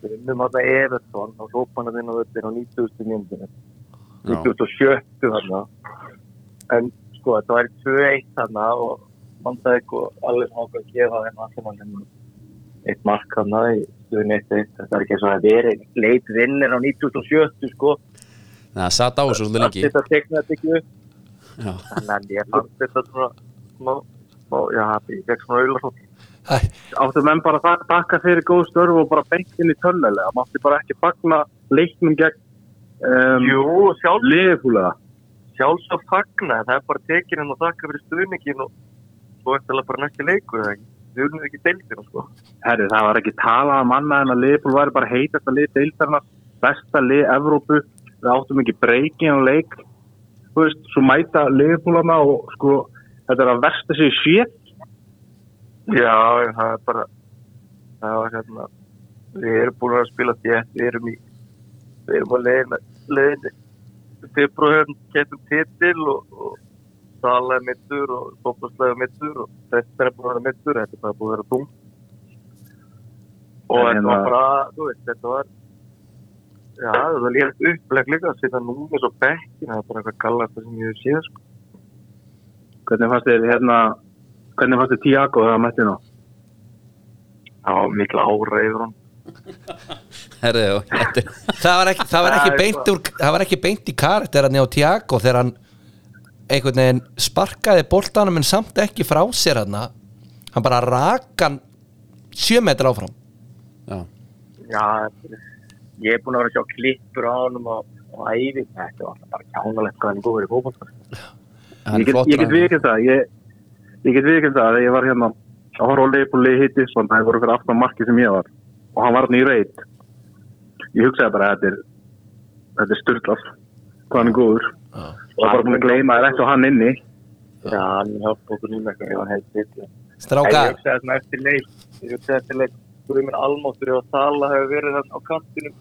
Speaker 5: við vinnum hérna Everton og hrópanum inn á völlin á 90. myndinu 2007 þarna en sko þetta var 2-1 þarna og vandaði eitthvað alveg nokkuð að gefa þeim aðsamann hérna eitt mark þarna í stuðin 1-1 þetta er ekki eins og að vera leit vinnir á 97 sko
Speaker 1: það satt á þessu svolítið
Speaker 5: allt
Speaker 1: lengi
Speaker 5: þetta tegna þetta ekki upp
Speaker 1: já,
Speaker 5: þannig að ég fannst þetta svona smá, smá já, ég fekk svona auðvitað
Speaker 2: Æ,
Speaker 6: áttu menn bara að bakka fyrir góð störf og bara beint inn í törnulega, það mátti bara ekki fagna leiknum gegn um,
Speaker 5: jú, sjálf
Speaker 6: liðfúlega,
Speaker 5: sjálfsagt fagna, það er bara tekin en að þakka fyrir stuðningin og svo eftirlega bara næsti leikur eða ekki. við unnum ekki deildina sko
Speaker 6: herri, það var ekki talað um annað en að liðfúl væri bara heitast að lið deildarna, besta lið Evrópu, við áttum ekki breyki en leik, þú veist, svo mæta liðfúlana og sko, þetta er að versta sig sétt,
Speaker 5: já, já, það er bara það var hérna við erum búin að spila þétt, við erum í við erum að leiðina leiðinni februar getum titil og, og salaði mittur og fókastlega mittur og þetta er búin að vera mittur, þetta er bara búin að vera tung og
Speaker 6: En
Speaker 5: þetta var
Speaker 6: hérna-
Speaker 5: bara, þú veist, þetta var já, það var létt uppleg líka að setja númis og bekkin það var bara eitthvað gallast það sem ég hef séð sko.
Speaker 6: Hvernig fannst þér hérna, hvernig fannst þér Tiago þegar að mætti nú?
Speaker 5: það var mikla ára yfir hann
Speaker 1: Herðu, já, þetta er
Speaker 2: það var ekki, það var
Speaker 5: Það
Speaker 2: ekki
Speaker 5: er
Speaker 2: beint úr, það var ekki beint í karakteran á Tiago þegar hann einhvern veginn sparkaði boltanum en samt ekki frá sér hann hann bara rakan sjö metra áfram
Speaker 1: Já,
Speaker 5: já, þetta er- ég er búin að vera að sjá klippur á hann og, og æfi þetta var bara kjánalegt hvað hann er góður í fókbalta
Speaker 1: hann
Speaker 6: Ég
Speaker 1: er
Speaker 6: get,
Speaker 1: flott
Speaker 6: ég get vikið það, ég, ég get vikið það að ég var hérna að horfa á leifbúli hitti svona, það voru fyrir aftan marki sem ég var og hann var hérna í reit. Ég hugsaði bara að þetta er, þetta er styrklað, hvað hann er góður. Og það var búin að gleyma þér eftir hann inni.
Speaker 5: já, hann hjálpa okkur nýmur eitthvað ég var heilt vitt
Speaker 2: stráka,
Speaker 5: Ég hugsaði svona eftir leik Ég hugsaði eftir leik Grumir Almóttur og Sala hefur verið þarna á kantinum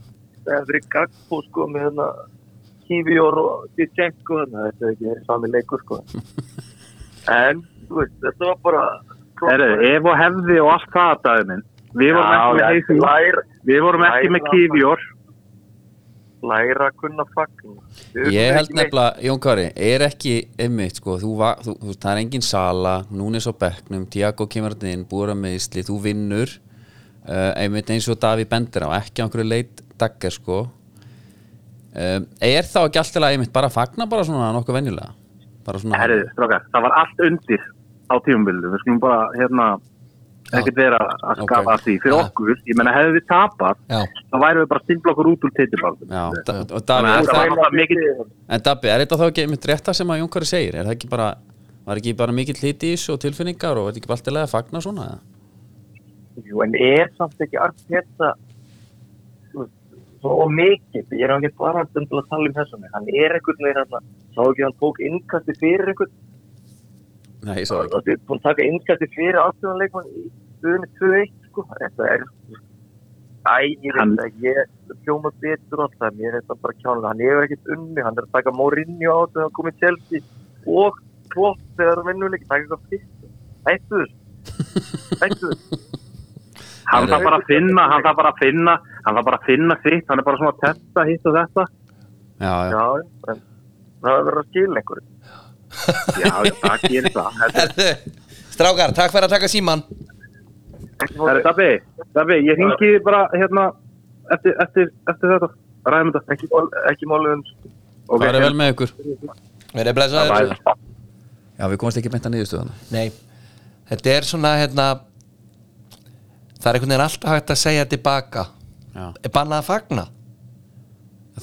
Speaker 5: eftir í Gagpo sko með hérna Kífior og Dichenko þannig að þetta er ekki sami
Speaker 1: (laughs)
Speaker 5: leikur sko En, þú veist, þetta var bara
Speaker 6: Erðu, ef og hefði og allt það að dagið minn. Við vorum
Speaker 5: Já,
Speaker 6: ekki með
Speaker 5: já,
Speaker 6: heisum,
Speaker 5: læra,
Speaker 6: við vorum ekki með kífjór.
Speaker 5: læra að kunna fagna Við
Speaker 1: Ég held
Speaker 5: vissum ekki neitt.
Speaker 1: nefnilega, Jón Kari, er ekki einmitt, sko, þú var, þú, þú, það er engin sala, núna er svo bekknum, Tiago kemur þarna inn, búra meðisli, þú vinnur, uh, einmitt eins og Daví bendir á, ekki á einhverju leit daggar, sko. Um, er þá ekki alltaf einmitt bara að fagna bara svona nokkuð venjulega? Bara svona...
Speaker 6: Herðu, strákar, það var allt undir á tímumbildu. Við skulum bara, hérna, ekkert vera að skafa
Speaker 1: Ok.
Speaker 6: okay. því. Fyrir
Speaker 2: Já.
Speaker 6: okkur, ég menna, hefði við tapað,
Speaker 2: já,
Speaker 6: þá værum við bara stimpla okkur út úr titilbaldum.
Speaker 1: Já, da, og- og Daví,
Speaker 6: Þannig að
Speaker 1: er
Speaker 6: þetta
Speaker 1: það,
Speaker 6: var náttúrulega mikið,
Speaker 1: en Daví, er þetta þá ekki einmitt rétta sem að Jón Kari segir? Er það ekki bara, var ekki bara mikill hiti í þessu og tilfinningar og er þetta ekki bara alltaf að fagna svona? eða?
Speaker 5: Jú, en er samt ekki Arteta þú veist, svo mikið, ég er ekki bara að stundla að tala um þessum, hann er einhvern veginn hérna, sá ekki að hann tók innkasti fyrir einhvern,
Speaker 1: Nei, ég svo
Speaker 5: og
Speaker 1: ekki.
Speaker 5: það er búin að taka innkasti fyrir afturðanleikmann í stöðunni 2-1, sko, þetta er Æ, ég
Speaker 6: Hann-
Speaker 5: veit ekki, ég hljóma betur alltaf, mér er þetta bara kjánulega, hann hefur ekkert unni, hann er að taka Mourinho á þegar hann komið Chelsea og Klopp þegar hann vinnur líka, taka eitthvað fyrst, hættu þessu, hættu þessu.
Speaker 6: hann
Speaker 1: Herðu.
Speaker 6: þarf bara að finna, hann þarf bara að finna, hann þarf bara að finna sitt, hann er bara svona að testa hitt og þetta.
Speaker 1: Já, já.
Speaker 5: Já, en það er verið að skilja einhverju.
Speaker 6: Já, já, það gerir það. Þetta-
Speaker 2: herðu (laughs) strákar, takk fyrir að taka síman
Speaker 6: Herru, Dabbi, Dabbi, ég hingi bara, hérna, eftir, eftir, eftir þetta, ræðum þetta.
Speaker 5: Ekki, mál- ekki málið um
Speaker 1: Okay. Það er vel með ykkur
Speaker 2: verið blessaður
Speaker 1: Já, við komumst ekki beint að niðurstöðana
Speaker 2: nei, þetta er svona hérna það er einhvern veginn alltaf hægt að segja tilbaka
Speaker 1: Já.
Speaker 2: er bannað að fagna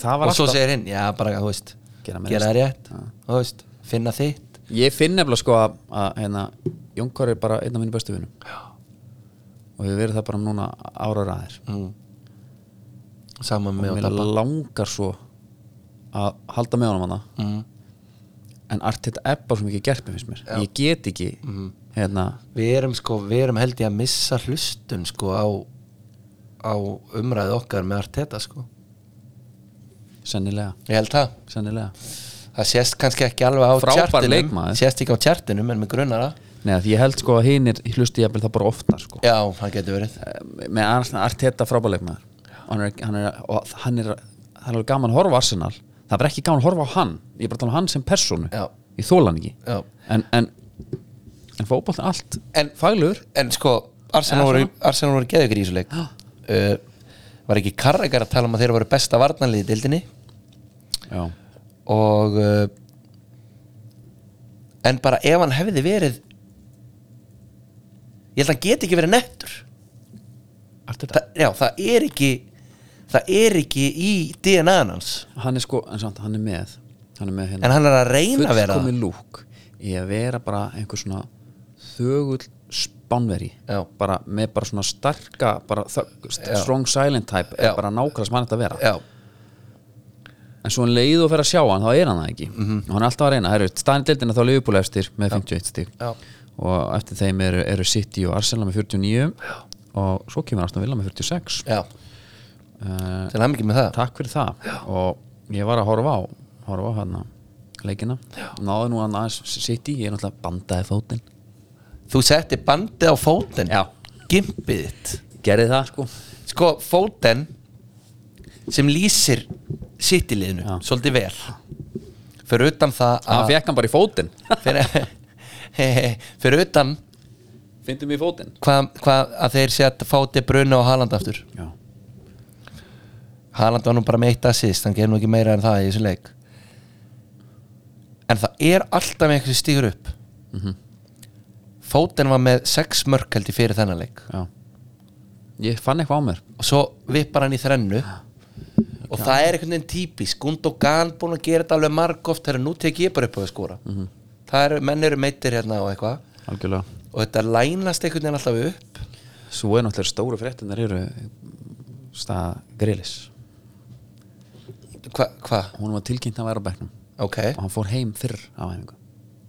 Speaker 1: Það
Speaker 2: og svo segir hinn, já bara, þú veist
Speaker 1: Gera
Speaker 2: gera
Speaker 1: með
Speaker 2: það rétt,
Speaker 1: Já.
Speaker 2: þú veist finna þitt,
Speaker 1: Ég finn nefnilega sko að, að hérna, Jónkar er bara einn af mínu bestu vinum og við verðum það bara núna ára ræðir
Speaker 2: saman með
Speaker 1: og
Speaker 2: Mm. og
Speaker 1: mér
Speaker 2: tappa
Speaker 1: langar svo að halda með honum hana
Speaker 2: mm.
Speaker 1: en Arteta er bara svo mikið gerpi finnst mér ég get ekki
Speaker 2: Mhm.
Speaker 1: hérna,
Speaker 2: við erum sko, við erum held ég að missa hlustun sko á, á umræðu okkar með Arteta sko
Speaker 1: sennilega,
Speaker 2: ég held það,
Speaker 1: sennilega
Speaker 2: það sést kannski ekki alveg á
Speaker 1: Frábær
Speaker 2: tjartinum,
Speaker 1: leikmaður.
Speaker 2: sést ekki á tjartinum en með grunnara,
Speaker 1: Nei, að ég held sko að hinir hlusti ég það bara oftar sko
Speaker 2: já, það getur verið
Speaker 1: Ehm, með Ar- Arteta frábæleikmaður hann er, hann er, og hann er það er alveg gaman að horfa á Arsenal það er bara ekki gaman að horfa á hann ég er bara að tala um hann sem personu
Speaker 2: Já.
Speaker 1: ég þóla hann ekki
Speaker 2: Já.
Speaker 1: en, en, en fótbolt er allt
Speaker 2: En-
Speaker 1: faglur
Speaker 2: en sko, Arsenal
Speaker 1: Eða
Speaker 2: voru, Arsenal voru geðvikir í þessu leik
Speaker 1: Já.
Speaker 2: uh, var ekki karrekar að tala um að þeir voru besta varnanlið í dildinni
Speaker 1: já,
Speaker 2: og uh, en bara ef hann hefði verið ég held að hann geti ekki verið nettur
Speaker 1: Arteta
Speaker 2: Þa, já, það er ekki það er ekki í DNA-n hans
Speaker 1: hann er sko, en samt, hann er með hann er með hérna
Speaker 2: en hann er að reyna að vera það.
Speaker 1: fullkomin lúk í að vera bara einhver svona þögull spánveri
Speaker 2: Já.
Speaker 1: bara með bara svona starka bara þögg,
Speaker 2: Já.
Speaker 1: strong silent type
Speaker 2: Já.
Speaker 1: er bara nákvæmst mann þetta að vera
Speaker 2: já,
Speaker 1: en svo hann leið og fer að sjá hann þá er hann það ekki og hann er alltaf að reyna, það eru staðindildina þá liðbúla eftir með 51 stík
Speaker 2: Mhm. Já.
Speaker 1: og eftir þeim eru, eru City og Arsenal með 49 og svo kemur Arsenal Villa með 46
Speaker 2: já
Speaker 1: uh,
Speaker 2: til hann ekki með það
Speaker 1: takk fyrir það og ég var að horfa á horfa á hérna leikina náðu nú hann aðeins City ég er náttúrulega bandaði fótinn
Speaker 2: þú setti bandið á fótinn
Speaker 1: Já.
Speaker 2: gimpið þitt
Speaker 1: gerði það sko
Speaker 2: sko Foden sem lýsir sittiliðinu
Speaker 1: Já.
Speaker 2: svolítið vel fyrir utan það
Speaker 1: Það
Speaker 2: að
Speaker 1: fekk hann bara í fótinn
Speaker 2: fyrir, fyrir (laughs) utan
Speaker 1: Fyndum í fótinn
Speaker 2: hvað hva, að þeir sé að fá De Bruyne og Haaland aftur
Speaker 1: Já,
Speaker 2: Haaland var nú bara með eitt assist hann gerði nú ekki meira en það í þessum leik en það er alltaf með einhverju stígur upp Foden var með 6 mörk held ég fyrir þennan leik
Speaker 1: já Ég fann eitthvað á mér
Speaker 2: og svo vippar hann í þrennu og það er einhvern veginn típisk Gundogan búin að gera þetta alveg margóft þegar nú tek ég bara upp á að skora það eru, menn eru meittir hérna og eitthvað
Speaker 1: Algjörlega
Speaker 2: og þetta lænast einhvern veginn alltaf upp
Speaker 1: Svo er náttúrulega stóru fréttinnar eru stað Grelis
Speaker 2: hvað, hva?
Speaker 1: Hún var tilkynnt að vera á bekknum
Speaker 2: ok,
Speaker 1: og hann fór heim fyrr á æfingu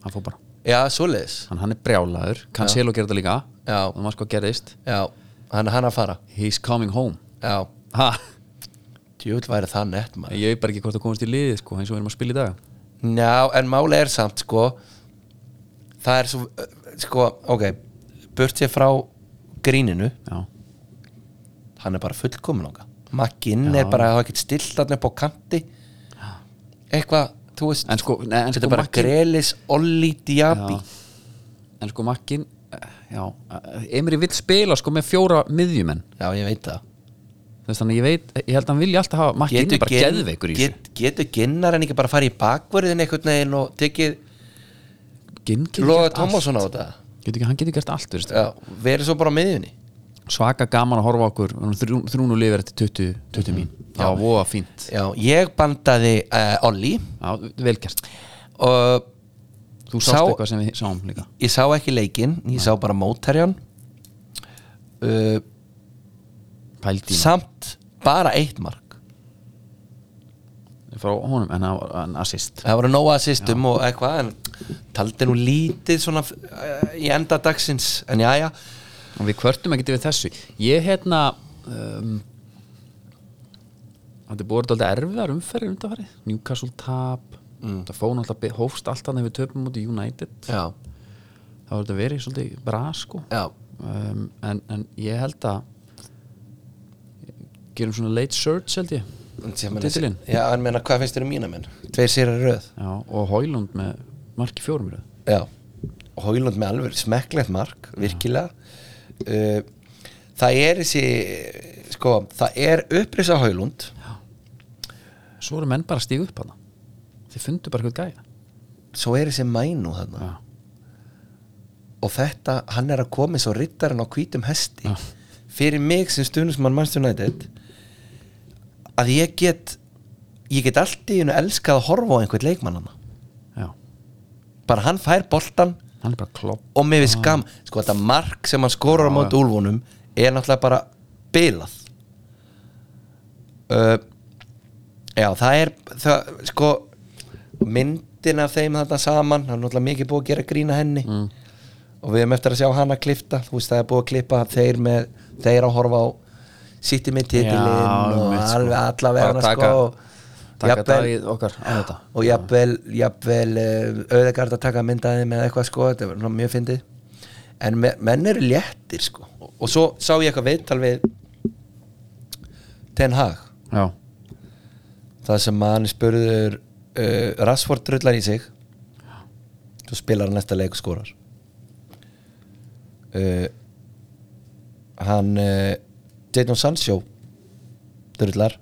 Speaker 1: Hann fór bara
Speaker 2: já, svoleiðis
Speaker 1: Hann, hann er brjálaður Cancelo gerir þetta líka
Speaker 2: Já.
Speaker 1: Það var sko gerðist
Speaker 2: já, hann, hann að fara
Speaker 1: He's coming home
Speaker 2: já,
Speaker 1: Ha
Speaker 2: djúvill væri það nett maður
Speaker 1: Ég veit bara ekki hvort það komast í liðið sko eins og við erum að spila í dag
Speaker 2: já, en máli er samt sko það er svo, sko, ok burt sér frá gríninu
Speaker 1: Já
Speaker 2: hann er bara fullkomin okkar Magginn er bara, það er ekkert stillt hann upp á kanti eitthvað, þú veist
Speaker 1: En sko, nei, en
Speaker 2: þetta
Speaker 1: sko
Speaker 2: er bara
Speaker 1: Makin-
Speaker 2: Grelis Olli Diaby
Speaker 1: Já. En sko Makkin Já Emri vill spila sko með fjóra miðjumenn
Speaker 2: já. ég veit það
Speaker 1: Þess þannig ég veit Ég held að hann vilja alltaf hafa Makkin er bara
Speaker 2: Gen-
Speaker 1: geðveikur í
Speaker 2: get, getur ginnar en ekki bara fara í bakverðin einhvern veginn og tekið
Speaker 1: þessu Ginn getur
Speaker 2: Loga
Speaker 1: gert allt.
Speaker 2: Tómasson á þetta
Speaker 1: Getur ekki, hann getur gert allt veist.
Speaker 2: já, verið svo bara á miðjunni
Speaker 1: Svaka gaman að horfa á okkur Þrún og lifir eftir 20, 20 mín Það var Mm-hmm. voða fínt
Speaker 2: já, ég bandaði uh, Olli
Speaker 1: Já, velkjast
Speaker 2: og
Speaker 1: Þú sást
Speaker 2: Sá-
Speaker 1: eitthvað sem við sáum líka
Speaker 2: ég sá ekki leikinn, ég sá bara mótherjan uh,
Speaker 1: Pældi í
Speaker 2: samt bara eitt mark
Speaker 1: frá honum en, hann- en assist
Speaker 2: það voru nóga assistum og eitthvað en taldi nú lítið svona uh, í enda dagsins en já já,
Speaker 1: og við kvörtum ekkert yfir þessu ég hérna um, þetta er búið alltaf erfiðar umferðir undanfarið Newcastle tap mm. það fóna alltaf be- hófst alltaf þegar við töpum út í United
Speaker 2: já,
Speaker 1: það var þetta verið svolítið bra sko
Speaker 2: já.
Speaker 1: um, en, en ég held að gerum svona late search held ég
Speaker 2: Meina,
Speaker 1: Titilinn?
Speaker 2: já, en meina hvað finnst þér um mína menn tveir sér að röð
Speaker 1: Já, og Hólund með marki fjórum í röð.
Speaker 2: já. og Hóilund með alveg smekklegt mark virkilega uh, það er þessi sko, það er upprisa Hóilund
Speaker 1: svo eru menn bara að stíga upp hana þeir fundu bara hvað gæja
Speaker 2: svo er þessi mænu
Speaker 1: Já.
Speaker 2: þarna og þetta, hann er að koma svo rittarinn á hvítum hesti fyrir mig sem stuðnismann Manchester United að ég get ég get allt í hennu elskað að horfa á einhvern leikmannana
Speaker 1: Já.
Speaker 2: bara hann fær boltan
Speaker 1: hann er bara klopp
Speaker 2: og mér við skam sko þetta mark sem hann skorur á móti úlfunum er náttúrulega bara bilað uh, já það er það, sko myndin af þeim þetta saman hann er náttúrulega mikið búið að gera grína henni og við erum eftir að sjá hann að klifta þú veist það er búið að klippa þeir með þeir að horfa á City með titilinn
Speaker 1: Já,
Speaker 2: og
Speaker 1: einmitt, sko.
Speaker 2: alveg allavega
Speaker 1: Bara
Speaker 2: hana
Speaker 1: taka-
Speaker 2: sko og
Speaker 1: taka
Speaker 2: jafnvel-
Speaker 1: dagið okkar á þetta.
Speaker 2: og jafnvel, jafnvel eh, auðegard að taka myndaði með eitthvað sko þetta var svona mjög fyndið en me- menn eru léttir sko og, og svo sá ég eitthvað viðtal við Ten Hag
Speaker 1: Já.
Speaker 2: það sem hann spurður uh, Rassford drullar í sig svo spilar hann næsta leik og skorar uh, hann uh, Jadon Sancho drullar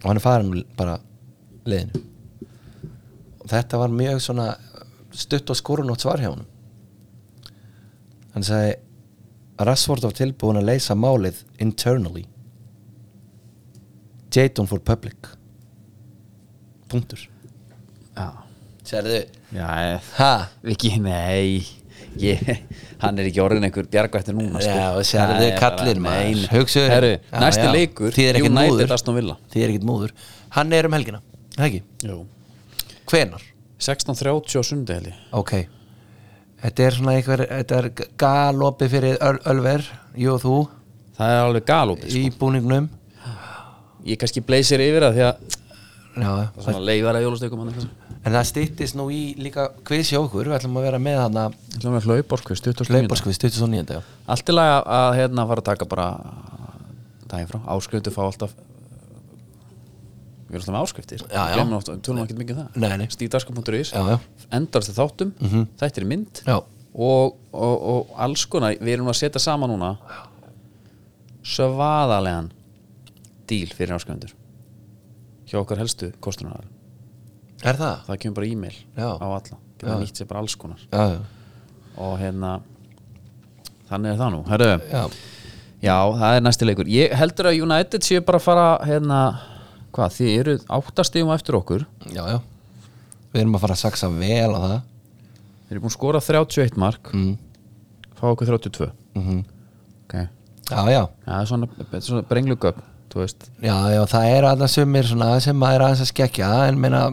Speaker 2: og hann er farin úr bara leiðinu og þetta var mjög svona stutt og skorunótt svar hjá hann hann sagði Rassford var tilbúin að leysa málið internally Jadon for public punktur
Speaker 1: Já.
Speaker 2: Sérðu,
Speaker 1: Já, eh,
Speaker 2: ha?
Speaker 1: Viki, nei ég, Hann er ekki orðin einhver bjargvættur núna sko.
Speaker 2: Já, sérðu
Speaker 1: Það er bara
Speaker 2: kallinn, maður.
Speaker 1: mein.
Speaker 2: Hugsaðu þér.
Speaker 1: Herru,
Speaker 2: Já,
Speaker 1: Næsti
Speaker 2: já.
Speaker 1: leikur,
Speaker 2: Þið er ekkert móður.
Speaker 1: United Aston Villa
Speaker 2: Þið er ekkert móður Hann er um helgina, er það ekki?
Speaker 1: Jú.
Speaker 2: Hvenar?
Speaker 1: 16.30 á sundi held ég
Speaker 2: Ok Þetta er svona einhver, þetta er galopi fyrir öl, Ölver, jú og þú
Speaker 1: Það er alveg galopið
Speaker 2: í búningnum
Speaker 1: Ég kannski bleið sér yfir það því að
Speaker 2: Já,
Speaker 1: Svona leifar að jólastökum hann eitthvað.
Speaker 2: en það stýttist nú í líka kviðs hjá okkur, við ætlum að vera með hana
Speaker 1: Ég ætlum að hlaupa orkvið, stutt og slunina
Speaker 2: hlauparskvið, stýttist og nýjönda
Speaker 1: Allt í lagi að- að hérna fara að taka bara daginn frá, áskriftu fá alltaf Við erum alltaf með áskriftir
Speaker 2: Já, já.
Speaker 1: Glemum oft- Tölum ekki mikið um það
Speaker 2: Nei, nei.
Speaker 1: Stífdaska.is
Speaker 2: Já, Mhm. já.
Speaker 1: Endarstu þáttum, þetta er mynd
Speaker 2: Já.
Speaker 1: og, og, og alls konar Við erum að setja saman núna Svaðalegan Díl fyrir áskrifundur Hjá okkar helstu kostunar
Speaker 2: er það?
Speaker 1: Það kemur bara e-mail
Speaker 2: Já.
Speaker 1: á alla Geta nýtt sér bara alls konar
Speaker 2: Já, já,
Speaker 1: og hérna þannig er það nú Herru,
Speaker 2: já.
Speaker 1: já, það er næsti leikur ég heldur að United séu bara að fara hérna, hvað, þið eru áttastífum eftir okkur,
Speaker 2: já, já. við erum að fara að saksa vel á það
Speaker 1: þeir eru búin að skora 31 mark,
Speaker 2: mm.
Speaker 1: fá okkur 32
Speaker 2: Mm
Speaker 1: ok, já,
Speaker 2: já, já,
Speaker 1: það er svona, þetta er svona brenglugöp, þú veist
Speaker 2: já, já það er aðna sumir svona sem maður er aðeins að skekja en meina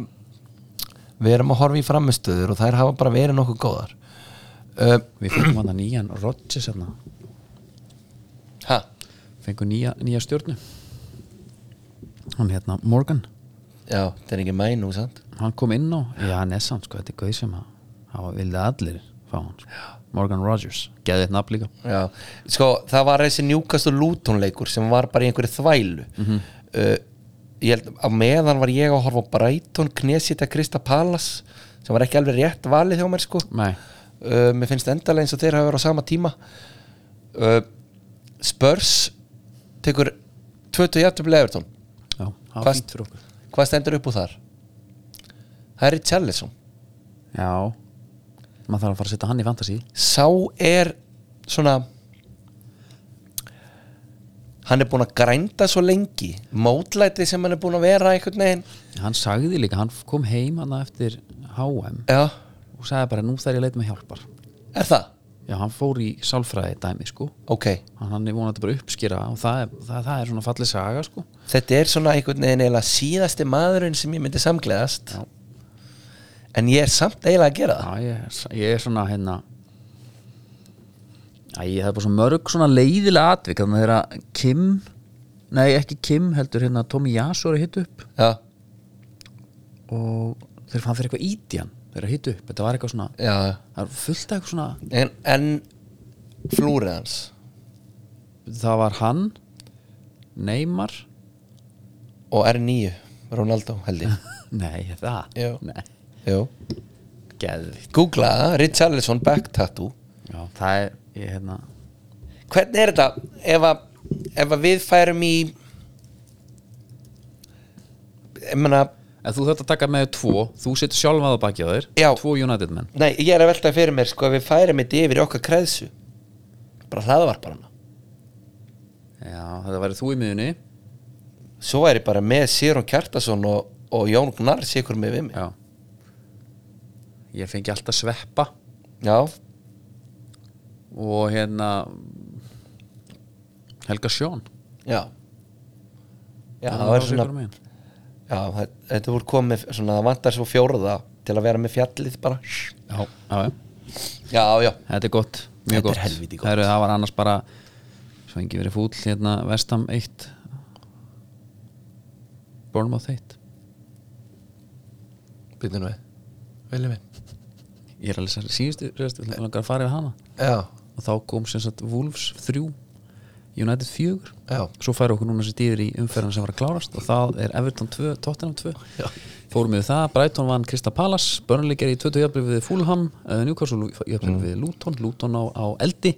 Speaker 2: við erum að horfa í framistöður og þær hafa bara verið nokkuð góðar uh,
Speaker 1: við fengum hann að nýjan Rodgers hérna,
Speaker 2: ha?
Speaker 1: fengum nýja, nýja stjórnu hann hérna Morgan,
Speaker 2: já, það er ekki mæn nú, sant?
Speaker 1: hann kom inn á já, Nessan, sko, þetta er gauð sem að hafa vildi allir fá hann, sko. Morgan Rodgers geði þetta nafn líka
Speaker 2: Já, sko það var þessi njúkast og lútonleikur sem var bara í einhverju þvælu uh, ég held að meðan var ég að horfa á Brighton Knesita Krista Palace sem var ekki alveg rétt valið hjá mér sko
Speaker 1: Nei,
Speaker 2: uh, mér finnst endalega eins og þeir hafa verið á sama tíma uh, Spurs tekur 20 jættublið Everton
Speaker 1: já, það var
Speaker 2: Hvað-
Speaker 1: fínt fyrir okkur
Speaker 2: hvað stendur upp úr þar? Það er Richarlison
Speaker 1: Já maður þarf að fara að setja hann í fantasy
Speaker 2: sá er svona hann er búin að grænda svo lengi mótlætið sem hann er búin að vera einhvern veginn
Speaker 1: hann sagði líka, hann kom heim hann eftir HM
Speaker 2: já,
Speaker 1: og sagði bara nú þær ég leit með hjálpar
Speaker 2: er það?
Speaker 1: já, hann fór í sálfræði dæmi sko
Speaker 2: ok,
Speaker 1: hann, hann er vonandi bara að uppskýra og það er, það, það er svona fallið saga sko
Speaker 2: þetta er svona einhvern veginn eiginlega síðasti maðurinn sem ég myndi samgleðast
Speaker 1: Já.
Speaker 2: en ég er samt eiginlega að gera það
Speaker 1: já, ég, er- ég er svona hérna Æ, það er bara svo mörg svona leiðilega atvik þannig að þeirra Kim nei, ekki Kim, heldur hérna Tommy Jasor hitt upp
Speaker 2: já,
Speaker 1: og þeir fann fyrir eitthvað íti hann þeirra hitt upp, þetta var eitthvað svona
Speaker 2: já,
Speaker 1: það er fullt af eitthvað svona
Speaker 2: en, en flúrið hans
Speaker 1: það var hann Neymar
Speaker 2: og R9, Ronaldo held ég
Speaker 1: nei, það
Speaker 2: Já.
Speaker 1: Nei.
Speaker 2: jú,
Speaker 1: Geðvikt.
Speaker 2: googla það, Richarlison back tattoo
Speaker 1: Já, það er ég, hérna,
Speaker 2: hvernig er þetta ef að, ef að við færum í ég meina
Speaker 1: en þú þarft að taka með þér tvo þú setur sjálf að baki á þér
Speaker 2: Já.
Speaker 1: tvo United menn
Speaker 2: nei, ég er að velta fyrir mér sko ef við færum þetta yfir í okkar kreðsu bara hlaðvarparana
Speaker 1: Já, þetta væri þú í miðunni
Speaker 2: svo er ég bara með Sýrún Kjartason og, og Jón Gnarr sikur með við mig
Speaker 1: Já. ég fengi alltaf sveppa
Speaker 2: já,
Speaker 1: og hérna Helga Sjón
Speaker 2: já já,
Speaker 1: Hún
Speaker 2: það
Speaker 1: á
Speaker 2: er svona
Speaker 1: ykkur megin.
Speaker 2: já, það- þetta voru komið svona, það vantar svo fjóruða til að vera með fjallið bara
Speaker 1: já, já, já
Speaker 2: já, já,
Speaker 1: Þetta er gott, mjög
Speaker 2: Þetta er
Speaker 1: gott
Speaker 2: helvíti gott.
Speaker 1: Heru, Það var annars bara Svo engi verið fúll hérna Vestam 1 Bournemouth 1
Speaker 2: byrðu nú við viljum við
Speaker 1: Ég er alveg sér síðustu sérstu, ég langar að fara yfir hana
Speaker 2: já,
Speaker 1: og þá kom sem sagt Wolves 3 United 4
Speaker 2: já,
Speaker 1: Svo færi okkur núna sem dýðir í umferðan sem var að klárast og það er Everton 2, Tottenham 2
Speaker 2: Já.
Speaker 1: Fórum við það, Brighton vann Krista Palas Burnley gerði 20 jafnlið við Fulham uh, Newcastle jafnlið
Speaker 2: Mm.
Speaker 1: við Luton Luton á, á eldi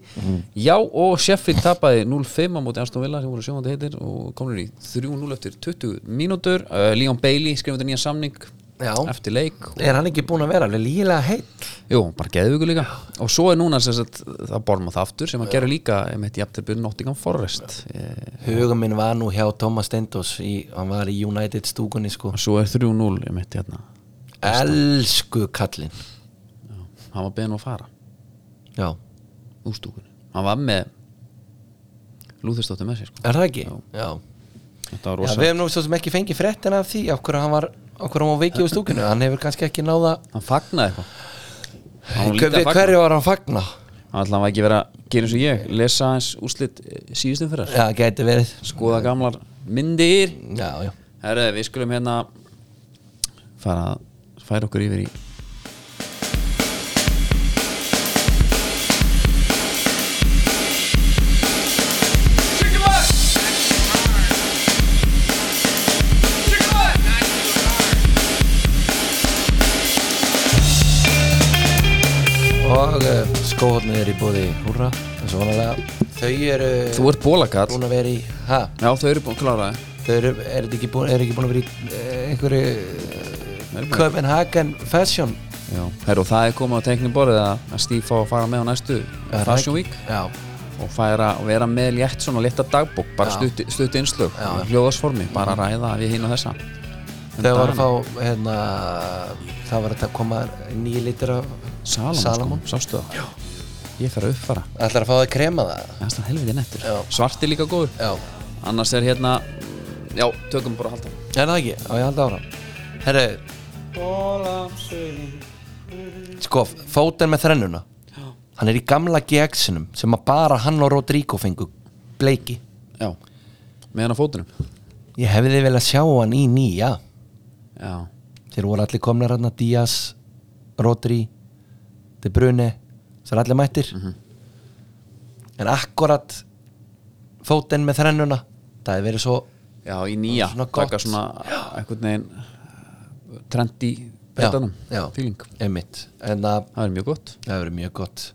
Speaker 1: Já og Sheffield tapaði 0-5 á móti Aston Villa sem voru sjóðandi heitir og komur í 3-0 eftir 20 mínútur uh, Leon Bailey skrifaði nýjan samning
Speaker 2: Já.
Speaker 1: eftir leik
Speaker 2: er hann ekki búin að vera alveg lígilega heitt
Speaker 1: Jú, bara geðvíku líka og svo er núna sem sagt, það borðum á það aftur sem að gera líka með jafnlið Nottingham Forest Eh,
Speaker 2: Huga minn var nú hjá Thomas Stendos í, hann var í United stúkunni sko
Speaker 1: og svo er 3-0 ég mitt hérna
Speaker 2: Elsku kallinn
Speaker 1: hann var beðin að fara
Speaker 2: Já,
Speaker 1: úr stúkunni hann var með Lúþistóttir með sér sko.
Speaker 2: er það ekki?
Speaker 1: Já.
Speaker 2: Já,
Speaker 1: þetta var
Speaker 2: Já
Speaker 1: rosa
Speaker 2: við hefum nú svo sem ekki fengið fréttina af því af hverju hann var, af hverju hann var veikið úr stúkunni hann hefur kannski ekki náða
Speaker 1: hann fagnaði eitthvað hann var
Speaker 2: Hver,
Speaker 1: lítið að fagna
Speaker 2: Hverju var hann að fagna?
Speaker 1: hann ætlaði að ekki vera að gera eins og ég lesa hans úrslit síðustum fyrir
Speaker 2: Já, gæti verið
Speaker 1: skoða gamlar myndir
Speaker 2: Já, já,
Speaker 1: herru við skulum hérna fara að færa okkur yfir í
Speaker 2: og uh, skóhóðnið er í bóði húra eins og vanalega þau eru
Speaker 1: Þú ert bólakall
Speaker 2: búin að vera í ha,
Speaker 1: Já, þau eru búin að klára það
Speaker 2: þau eru er þetta ekki búin, er ekki búin að vera í eh, einhverju eh, Copenhagen fashion
Speaker 1: Já, herru, og það er komið á tekniborðið að að Steve fá að fara með á næstu
Speaker 2: Er það
Speaker 1: Fashion
Speaker 2: ekki?
Speaker 1: Week Um
Speaker 2: já,
Speaker 1: og færa og vera með létt svona létta dagbók bara
Speaker 2: Já.
Speaker 1: stutt, stutt innslög,
Speaker 2: Já, Mhm. já.
Speaker 1: hljóðasformi bara að ræða við hinn og þessa
Speaker 2: þau var að fá hérna, það var að það koma nýja litur af
Speaker 1: Salamon,
Speaker 2: Salomon.
Speaker 1: Sko, sástu það? Já Ég fer að uppfara,
Speaker 2: ætlar að fá það að krema það
Speaker 1: það er stann helviti nettur
Speaker 2: Já.
Speaker 1: Svart er líka góður
Speaker 2: já,
Speaker 1: Annars er hérna, já, tökum bara að halda
Speaker 2: en það ekki, á ég haldi ára herru sko, fóten með þrennuna hann er í gamla GX-inum sem að bara hann og Rodrigo fengu bleiki
Speaker 1: Já, með hann á fótunum
Speaker 2: Ég hefði vel að sjá hann í nýja
Speaker 1: Já,
Speaker 2: Þeir voru allir komnar hann Díaz, Rodri De Bruyne Það er allir mættir En akkurat fótinn með þrennuna Það hefði verið svo
Speaker 1: já, í nýja
Speaker 2: Svona gott.
Speaker 1: Taka svona einhvern veginn eh, trendi betanum
Speaker 2: já,
Speaker 1: Fíling,
Speaker 2: Einmitt En það
Speaker 1: það er mjög gott
Speaker 2: það hefur verið mjög gott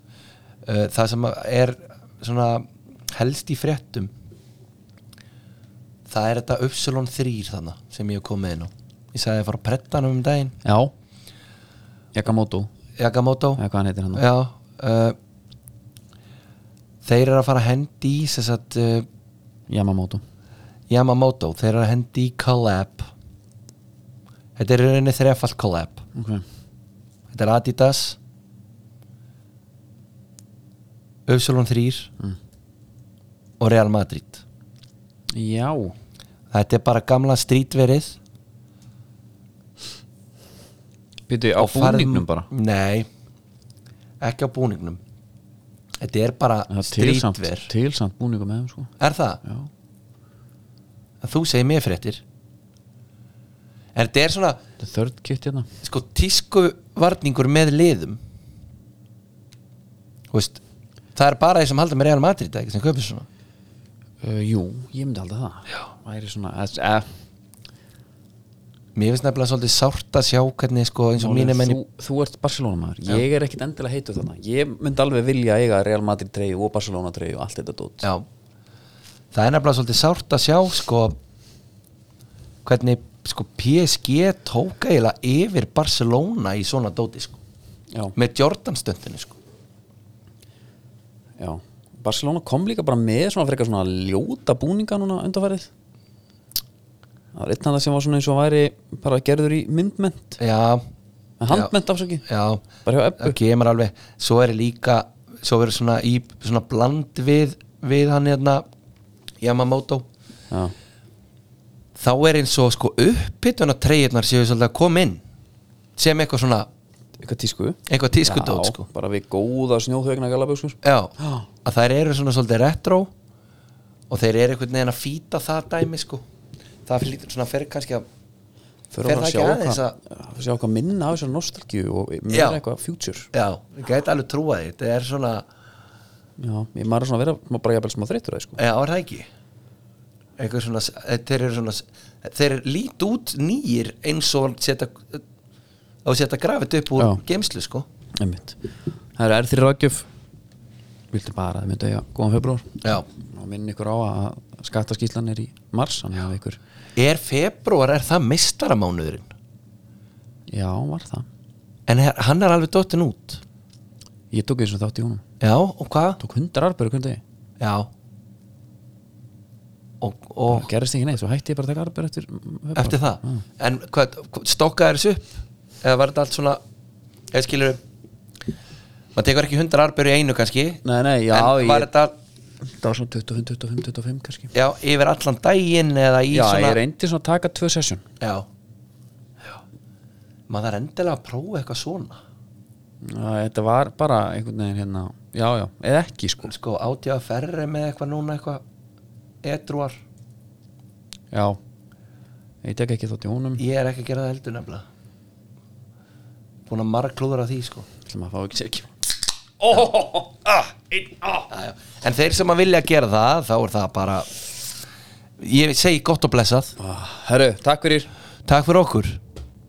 Speaker 2: Uh, Það sem að er svona helst í fréttum Það er þetta Upsilon 3 þannig sem ég hef komið inn á Ég sagði að fara að pretta hann um daginn
Speaker 1: Já Yakamoto,
Speaker 2: Yakamoto
Speaker 1: eða hvað hann heitir hann
Speaker 2: Já uh, Þeir eru að fara að hendi í sem sagt, uh,
Speaker 1: Yamamoto
Speaker 2: Yamamoto, þeir eru að hendi í collab Þetta er í rauninni þrefald collab
Speaker 1: okay.
Speaker 2: Þetta er Adidas Upsilon 3
Speaker 1: Mm.
Speaker 2: og Real Madrid
Speaker 1: Já,
Speaker 2: Þetta er bara gamla strítverið
Speaker 1: býtu á
Speaker 2: og farð-
Speaker 1: búningnum bara
Speaker 2: Nei, ekki á búningnum Þetta er bara
Speaker 1: En það er tilsamt,
Speaker 2: strítver
Speaker 1: tilsamt búningum með þeim sko
Speaker 2: Er það?
Speaker 1: Já.
Speaker 2: Að þú segir mér fréttir En þetta er svona
Speaker 1: Þetta er þörd kitt hérna
Speaker 2: sko tísku varningur með liðum Þú veist Það er bara þeir sem halda með Real Madrid ekki sem kaupir svona
Speaker 1: uh, Jú, ég myndi halda það Já Væri svona, eh, eða
Speaker 2: Mér finnst nefnilega svolítið sárt að sjá hvernig sko eins og
Speaker 1: Málið
Speaker 2: mínir
Speaker 1: er,
Speaker 2: menni
Speaker 1: þú, þú ert Barcelona maður, ég er ekkit endilega heitur þarna Ég myndi alveg vilja eiga Real Madrid treyju og Barcelona treyju og allt þetta dót
Speaker 2: Já Það er nefnilega svolítið sárt að sjá sko hvernig sko PSG tók eiginlega yfir Barcelona í svona dóti sko
Speaker 1: Já,
Speaker 2: með Jordan stöndinu sko
Speaker 1: já Barcelona kom líka bara með svona frekar svona ljóta búninga núna undanfærið Það var einn hann sem var svona eins og væri bara gerður í myndment
Speaker 2: Já,
Speaker 1: handment afsaki
Speaker 2: já
Speaker 1: Bara hjá Ebbu.
Speaker 2: það kemur alveg svo er líka, svo verður svona í svona bland við, við hann hérna Yamamoto
Speaker 1: Já,
Speaker 2: þá er eins og sko upphittuna treyjarnar séu svolítið að koma inn sem eitthvað svona,
Speaker 1: eitthvað tísku
Speaker 2: eitthvað tískudót
Speaker 1: Já,
Speaker 2: sko
Speaker 1: bara við góða snjóðhugna galabökskur
Speaker 2: já, að þær eru svona svolítið retro og þeir eru einhvern veginn að fýta það dæmi sko það fyrir svona fyrir kannski að Fer
Speaker 1: Fyrir að
Speaker 2: það
Speaker 1: sjá
Speaker 2: ekki
Speaker 1: hvað,
Speaker 2: aðeins
Speaker 1: að... sjá hvað minna af þessar nostalgíu og
Speaker 2: Já.
Speaker 1: meira eitthvað future
Speaker 2: já, ég gæti alveg trúa því þetta er svona,
Speaker 1: Já, ég maður er svona að vera maður bara jafnvel smá þreytur að því, sko
Speaker 2: já, er það ekki eitthvað svona, eh, þeir eru svona þeir lít út nýjir eins og setja á að setja grafið upp úr
Speaker 1: Já.
Speaker 2: geimslu sko
Speaker 1: Einmitt. Það eru R3 Rákjöf Vildi bara að þið myndu eiga góðan februar
Speaker 2: já.
Speaker 1: og minn ykkur á að skattaskýslan er í mars þannig að ykkur,
Speaker 2: er februar, er það mistaramánuðurinn
Speaker 1: já, var það
Speaker 2: en her, hann er alveg dottin út
Speaker 1: Ég tók eins og þátt í honum
Speaker 2: já, og hvað?
Speaker 1: Tók hundar arbeigur hvernig degi
Speaker 2: já og,
Speaker 1: Það
Speaker 2: og
Speaker 1: gerðist ekki neitt, svo hætti ég bara að taka arbeigur eftir februar.
Speaker 2: eftir það
Speaker 1: Ah.
Speaker 2: en hvað, stokkaði þessu upp eða var þetta allt svona eða skilur maður tekur ekki hundar arbjör í einu kannski
Speaker 1: Nei, nei, já,
Speaker 2: en var
Speaker 1: ég-
Speaker 2: þetta
Speaker 1: Það var svona 25, 25, 25 kannski
Speaker 2: já, yfir allan daginn eða í
Speaker 1: Já,
Speaker 2: svona
Speaker 1: ég reyndi svona að taka tvö sessjón
Speaker 2: já. já maður er endilega að prófa eitthvað svona
Speaker 1: Þetta var bara einhvern veginn hérna Já, já, eða ekki sko
Speaker 2: sko átjáða ferri með eitthvað núna eitthvað edruar
Speaker 1: Já, ég tek ekki þátt í honum
Speaker 2: ég er ekki að gera það heldur nefnilega búin að margklúðra því sko
Speaker 1: ætlum að fá ekki sér
Speaker 2: Já, já. en þeir sem að vilja gera það þá er það bara ég segi gott og blessað
Speaker 1: Ah, Herru, takk fyrir
Speaker 2: takk fyrir okkur